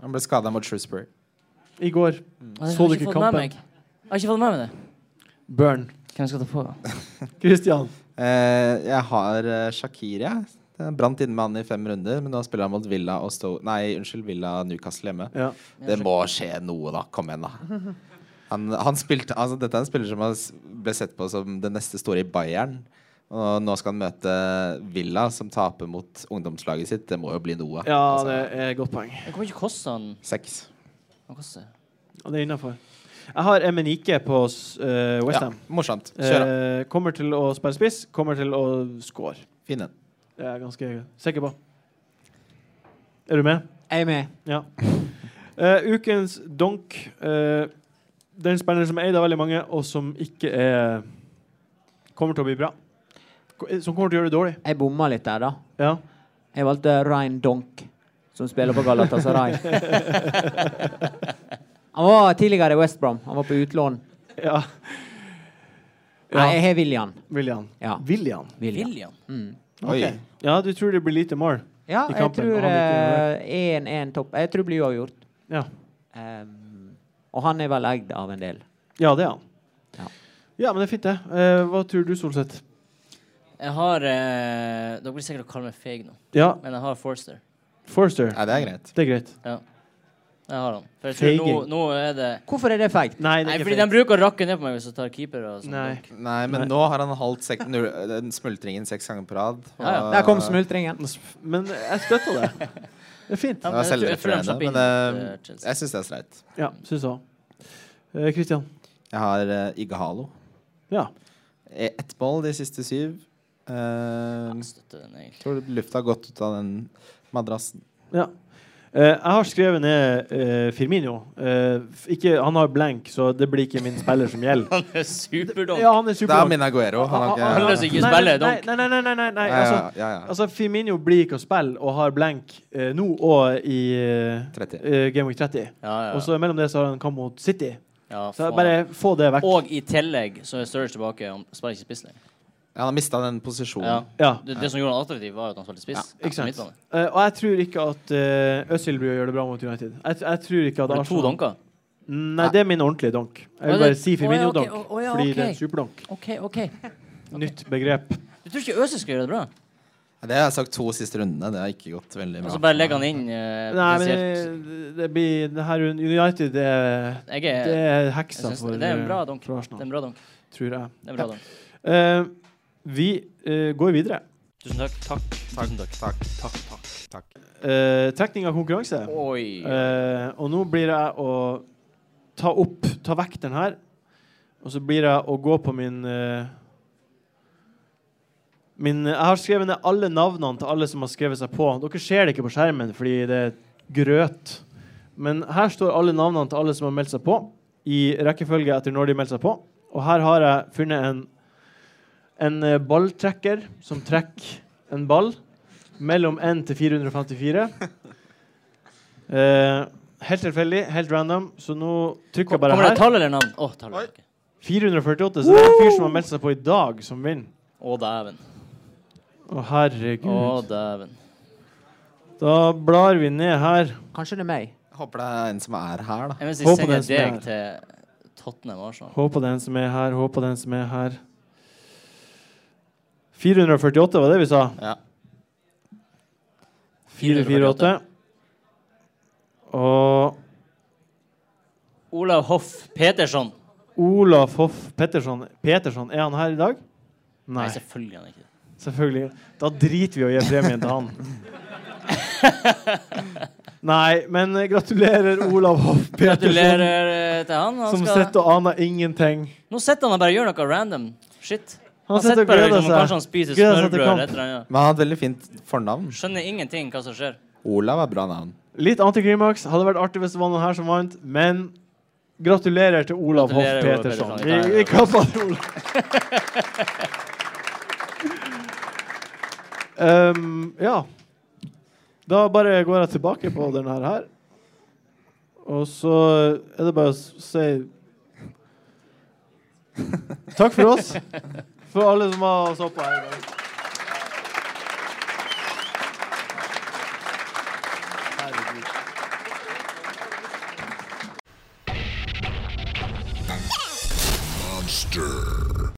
Speaker 3: Han ble skada mot Shrewsbury.
Speaker 1: I går.
Speaker 4: Jeg
Speaker 1: Så
Speaker 4: har
Speaker 1: du
Speaker 4: ikke
Speaker 1: ikke
Speaker 4: fått med
Speaker 1: kampen?
Speaker 4: meg. Jeg har ikke fått med meg det.
Speaker 1: Burn.
Speaker 4: Hvem skal ta på?
Speaker 1: Christian.
Speaker 3: Eh, jeg har eh, Shakir, jeg. Den Brant inne med han i fem runder, men nå spiller han mot Villa og Sto... Nei, unnskyld, Villa Newcastle hjemme.
Speaker 1: Ja.
Speaker 3: Det må skje noe, da. Kom igjen, da. Han, han spilte, altså, dette er en spiller som har s- ble sett på som det neste store i Bayern. Og nå skal han møte Villa, som taper mot ungdomslaget sitt. Det må jo bli noe.
Speaker 1: ja,
Speaker 3: Altså,
Speaker 1: det er et godt poeng.
Speaker 4: Det kommer ikke koste han
Speaker 3: Seks.
Speaker 4: Hva koster det?
Speaker 1: Og det er innafor. Jeg har Emenike på Eh, uh,
Speaker 3: Ja,
Speaker 1: Westham.
Speaker 3: morsomt. Kjør, da.
Speaker 1: kommer til å spille spiss, kommer til å score.
Speaker 3: Fin en.
Speaker 1: Det er jeg ganske sikker på. Er du med?
Speaker 2: Jeg er med.
Speaker 1: Ja. Eh, ukens donk. eh, den spilleren som er eid av veldig mange, og som ikke er Kommer til å bli bra. Ko- Som kommer til å gjøre det dårlig.
Speaker 2: Jeg bomma litt der, da.
Speaker 1: Ja.
Speaker 2: Jeg valgte Ryan Donk, som spiller på Galatasaray. han var tidligere i West Brom. Han var på utlån.
Speaker 1: Ja.
Speaker 2: Nei, jeg har William.
Speaker 1: William.
Speaker 2: Ja.
Speaker 1: William.
Speaker 2: William. Mm.
Speaker 4: William?
Speaker 3: Oi.
Speaker 1: Ok. Ja, du tror det blir lite mål?
Speaker 2: Ja,
Speaker 1: I
Speaker 2: jeg
Speaker 1: kampen,
Speaker 2: tror
Speaker 1: han er ikke
Speaker 2: eh, 1-1 topp. Jeg tror det blir uavgjort.
Speaker 1: Ja.
Speaker 2: Ehm, og han er vel eid av en del.
Speaker 1: ja, det er han.
Speaker 2: Ja.
Speaker 1: Ja, men det er fint, det. Eh, hva tror du, Solseth?
Speaker 4: Jeg har eh, Dere blir sikkert å kalle meg feig nå,
Speaker 1: Ja,
Speaker 4: men jeg har Forster.
Speaker 1: Forster.
Speaker 3: Nei, det er greit.
Speaker 1: Det er greit.
Speaker 4: Jeg har han. For jeg tror nå,
Speaker 1: Feiging.
Speaker 4: nå er det
Speaker 2: Hvorfor er det feigt?
Speaker 1: Nei, det
Speaker 4: Nei,
Speaker 1: er
Speaker 4: fordi
Speaker 1: ikke
Speaker 4: de
Speaker 1: feil.
Speaker 4: bruker å rakke ned på meg hvis jeg tar keeper og sånn.
Speaker 1: Nei.
Speaker 3: Nei, men
Speaker 1: Nei.
Speaker 3: nå har han holdt sek null, den smultringen seks ganger på rad. og-
Speaker 4: Ja, ja.
Speaker 2: Der
Speaker 1: Eh,
Speaker 2: kom smultringen.
Speaker 1: Men jeg støtter det. Det er fint.
Speaker 4: Ja,
Speaker 3: Det var
Speaker 4: men jeg tror- jeg tror de slapp
Speaker 3: selvrefererende,
Speaker 4: inn
Speaker 3: men
Speaker 4: mot, eh,
Speaker 3: eh,
Speaker 4: Chelsea.
Speaker 3: jeg syns det er streit.
Speaker 1: Ja, syns jeg Eh, òg. Kristian.
Speaker 3: Jeg har uh, Igahalo. E,
Speaker 1: Ja.
Speaker 3: Ett mål de siste syv. Eh,
Speaker 4: Jeg støtter den egentlig.
Speaker 3: tror lufta har gått ut av den madrassen.
Speaker 1: ja. Eh, jeg har skrevet ned eh, Firmino. Eh, f- ikke, han har blank, så det blir ikke min spiller som gjelder.
Speaker 4: Han er superdum.
Speaker 1: Ja, han er
Speaker 3: Det er
Speaker 1: superdonk.
Speaker 3: min Aguero. Han har
Speaker 4: Han
Speaker 3: ikke
Speaker 4: løser ikke spillet,
Speaker 1: nei,
Speaker 4: donk.
Speaker 1: nei, nei, nei, nei, nei, nei.
Speaker 3: Ja,
Speaker 1: Altså,
Speaker 3: ja, ja, ja.
Speaker 1: Altså, Firmino blir ikke å spille og har blank eh, nå og i eh,
Speaker 3: 30.
Speaker 1: eh, Game Week 30.
Speaker 4: Ja, ja.
Speaker 1: Og så mellom det så har han kamp mot City.
Speaker 4: Ja,
Speaker 1: Så
Speaker 4: faen.
Speaker 1: bare få det vekk.
Speaker 4: Og i tillegg så er Sturridge tilbake og spiller ikke spiss lenger.
Speaker 3: Ja, han har mista den posisjonen.
Speaker 4: Ja.
Speaker 1: Ja.
Speaker 4: Det, det som gjorde han attraktiv, var jo at han spilte spiss.
Speaker 1: Ikke
Speaker 4: på
Speaker 1: sant?
Speaker 4: midtbane.
Speaker 1: Eh, og jeg tror ikke at uh, Øzil blir å gjøre det bra mot United. Jeg, t- jeg tror ikke at
Speaker 4: Har du to
Speaker 1: Arsenal-
Speaker 4: donker?
Speaker 1: Nei, det er min ordentlige donk. Jeg
Speaker 4: Å,
Speaker 1: vil
Speaker 4: det-
Speaker 1: bare si
Speaker 4: å, ja,
Speaker 1: Firmino-donk,
Speaker 4: ok, å, å, ja,
Speaker 1: fordi
Speaker 4: ok.
Speaker 1: det er en superdonk.
Speaker 4: OK, OK.
Speaker 1: Nytt begrep.
Speaker 4: Du tror ikke Øzil skal gjøre det bra?
Speaker 3: Det har jeg sagt to siste rundene. Det har ikke gått veldig bra.
Speaker 4: Og så bare legger han inn eh,
Speaker 1: Nei, men det,
Speaker 4: potensielt.
Speaker 1: det blir det her United det, er-
Speaker 4: Jeg er,
Speaker 1: det er
Speaker 4: jeg
Speaker 1: heksa
Speaker 4: synes,
Speaker 1: for,
Speaker 4: det er en bra
Speaker 1: eh,
Speaker 4: donk.
Speaker 1: for
Speaker 4: Det er
Speaker 1: Arsenal,
Speaker 4: en bra donk.
Speaker 1: tror jeg.
Speaker 4: Det er en bra donk.
Speaker 1: Eh, vi eh, går videre.
Speaker 4: Tusen takk. Takk.
Speaker 3: Takk, takk, takk, takk.
Speaker 1: Eh, trekning av konkurranse.
Speaker 4: Oi.
Speaker 1: Eh, og nå blir jeg å ta opp, ta vekk den her. Og så blir jeg å gå på min eh, Min Jeg har skrevet ned alle navnene til alle som har skrevet seg på. Dere ser det ikke på skjermen fordi det er grøt. Men her står alle navnene til alle som har meldt seg på, i rekkefølge etter når de meldte seg på. Og her har jeg funnet en, en eh, balltrekker som trekker en ball mellom 1 til 454. Eh, helt tilfeldig, helt random, så nå trykker jeg bare
Speaker 4: Kommer det
Speaker 1: her.
Speaker 4: tall eller navn? Å, tall.
Speaker 3: Oi.
Speaker 4: ok.
Speaker 1: 448, så det er en fyr som har meldt seg på i dag, som vinner.
Speaker 4: Å, dæven.
Speaker 1: Å, herregud.
Speaker 4: Å, dæven.
Speaker 1: Da blar vi ned her.
Speaker 2: Kanskje det er meg.
Speaker 3: Håper det er en som er her, da.
Speaker 4: Jeg vil si,
Speaker 1: Håper
Speaker 4: sender
Speaker 1: den som
Speaker 4: deg
Speaker 1: er
Speaker 4: til Tottenham Arsenal.
Speaker 1: Håper den som er her, håper den som er her. 448 var det vi sa.
Speaker 3: Ja.
Speaker 1: 448. Og
Speaker 4: Olav Hoff Petersson.
Speaker 1: Olaf Hoff Petterson Peterson, er han her i dag?
Speaker 4: Nei,
Speaker 1: Nei,
Speaker 4: selvfølgelig er han ikke det.
Speaker 1: selvfølgelig. Da driter vi i å gi premien til han. Nei, men eh, gratulerer, Olav Hoff Peterson,
Speaker 4: Gratulerer eh, til han. han
Speaker 1: som
Speaker 4: skal...
Speaker 1: sitter og aner ingenting.
Speaker 4: Nå sitter han og bare gjør noe random shit.
Speaker 1: Han sitter og
Speaker 4: bare
Speaker 1: gleder
Speaker 4: liksom,
Speaker 1: seg.
Speaker 4: Kanskje han spiser
Speaker 1: Gleder seg til
Speaker 4: smørbrød
Speaker 1: kamp.
Speaker 4: eller et eller annet.
Speaker 3: Men han har et veldig fint fornavn.
Speaker 4: Skjønner ingenting hva som skjer.
Speaker 3: Olav er bra navn.
Speaker 1: Litt antiklimaks. Hadde vært artig hvis det var noen her som vant, men gratulerer til Olav Hoff
Speaker 4: Gratulerer, Olav
Speaker 1: Peterson.
Speaker 4: Peterson.
Speaker 1: Vi, vi klapper for Olav. um, ja. Da bare går jeg tilbake på den her her. Og så er det bare å s- si Takk for oss. For alle som har stått på her i dag.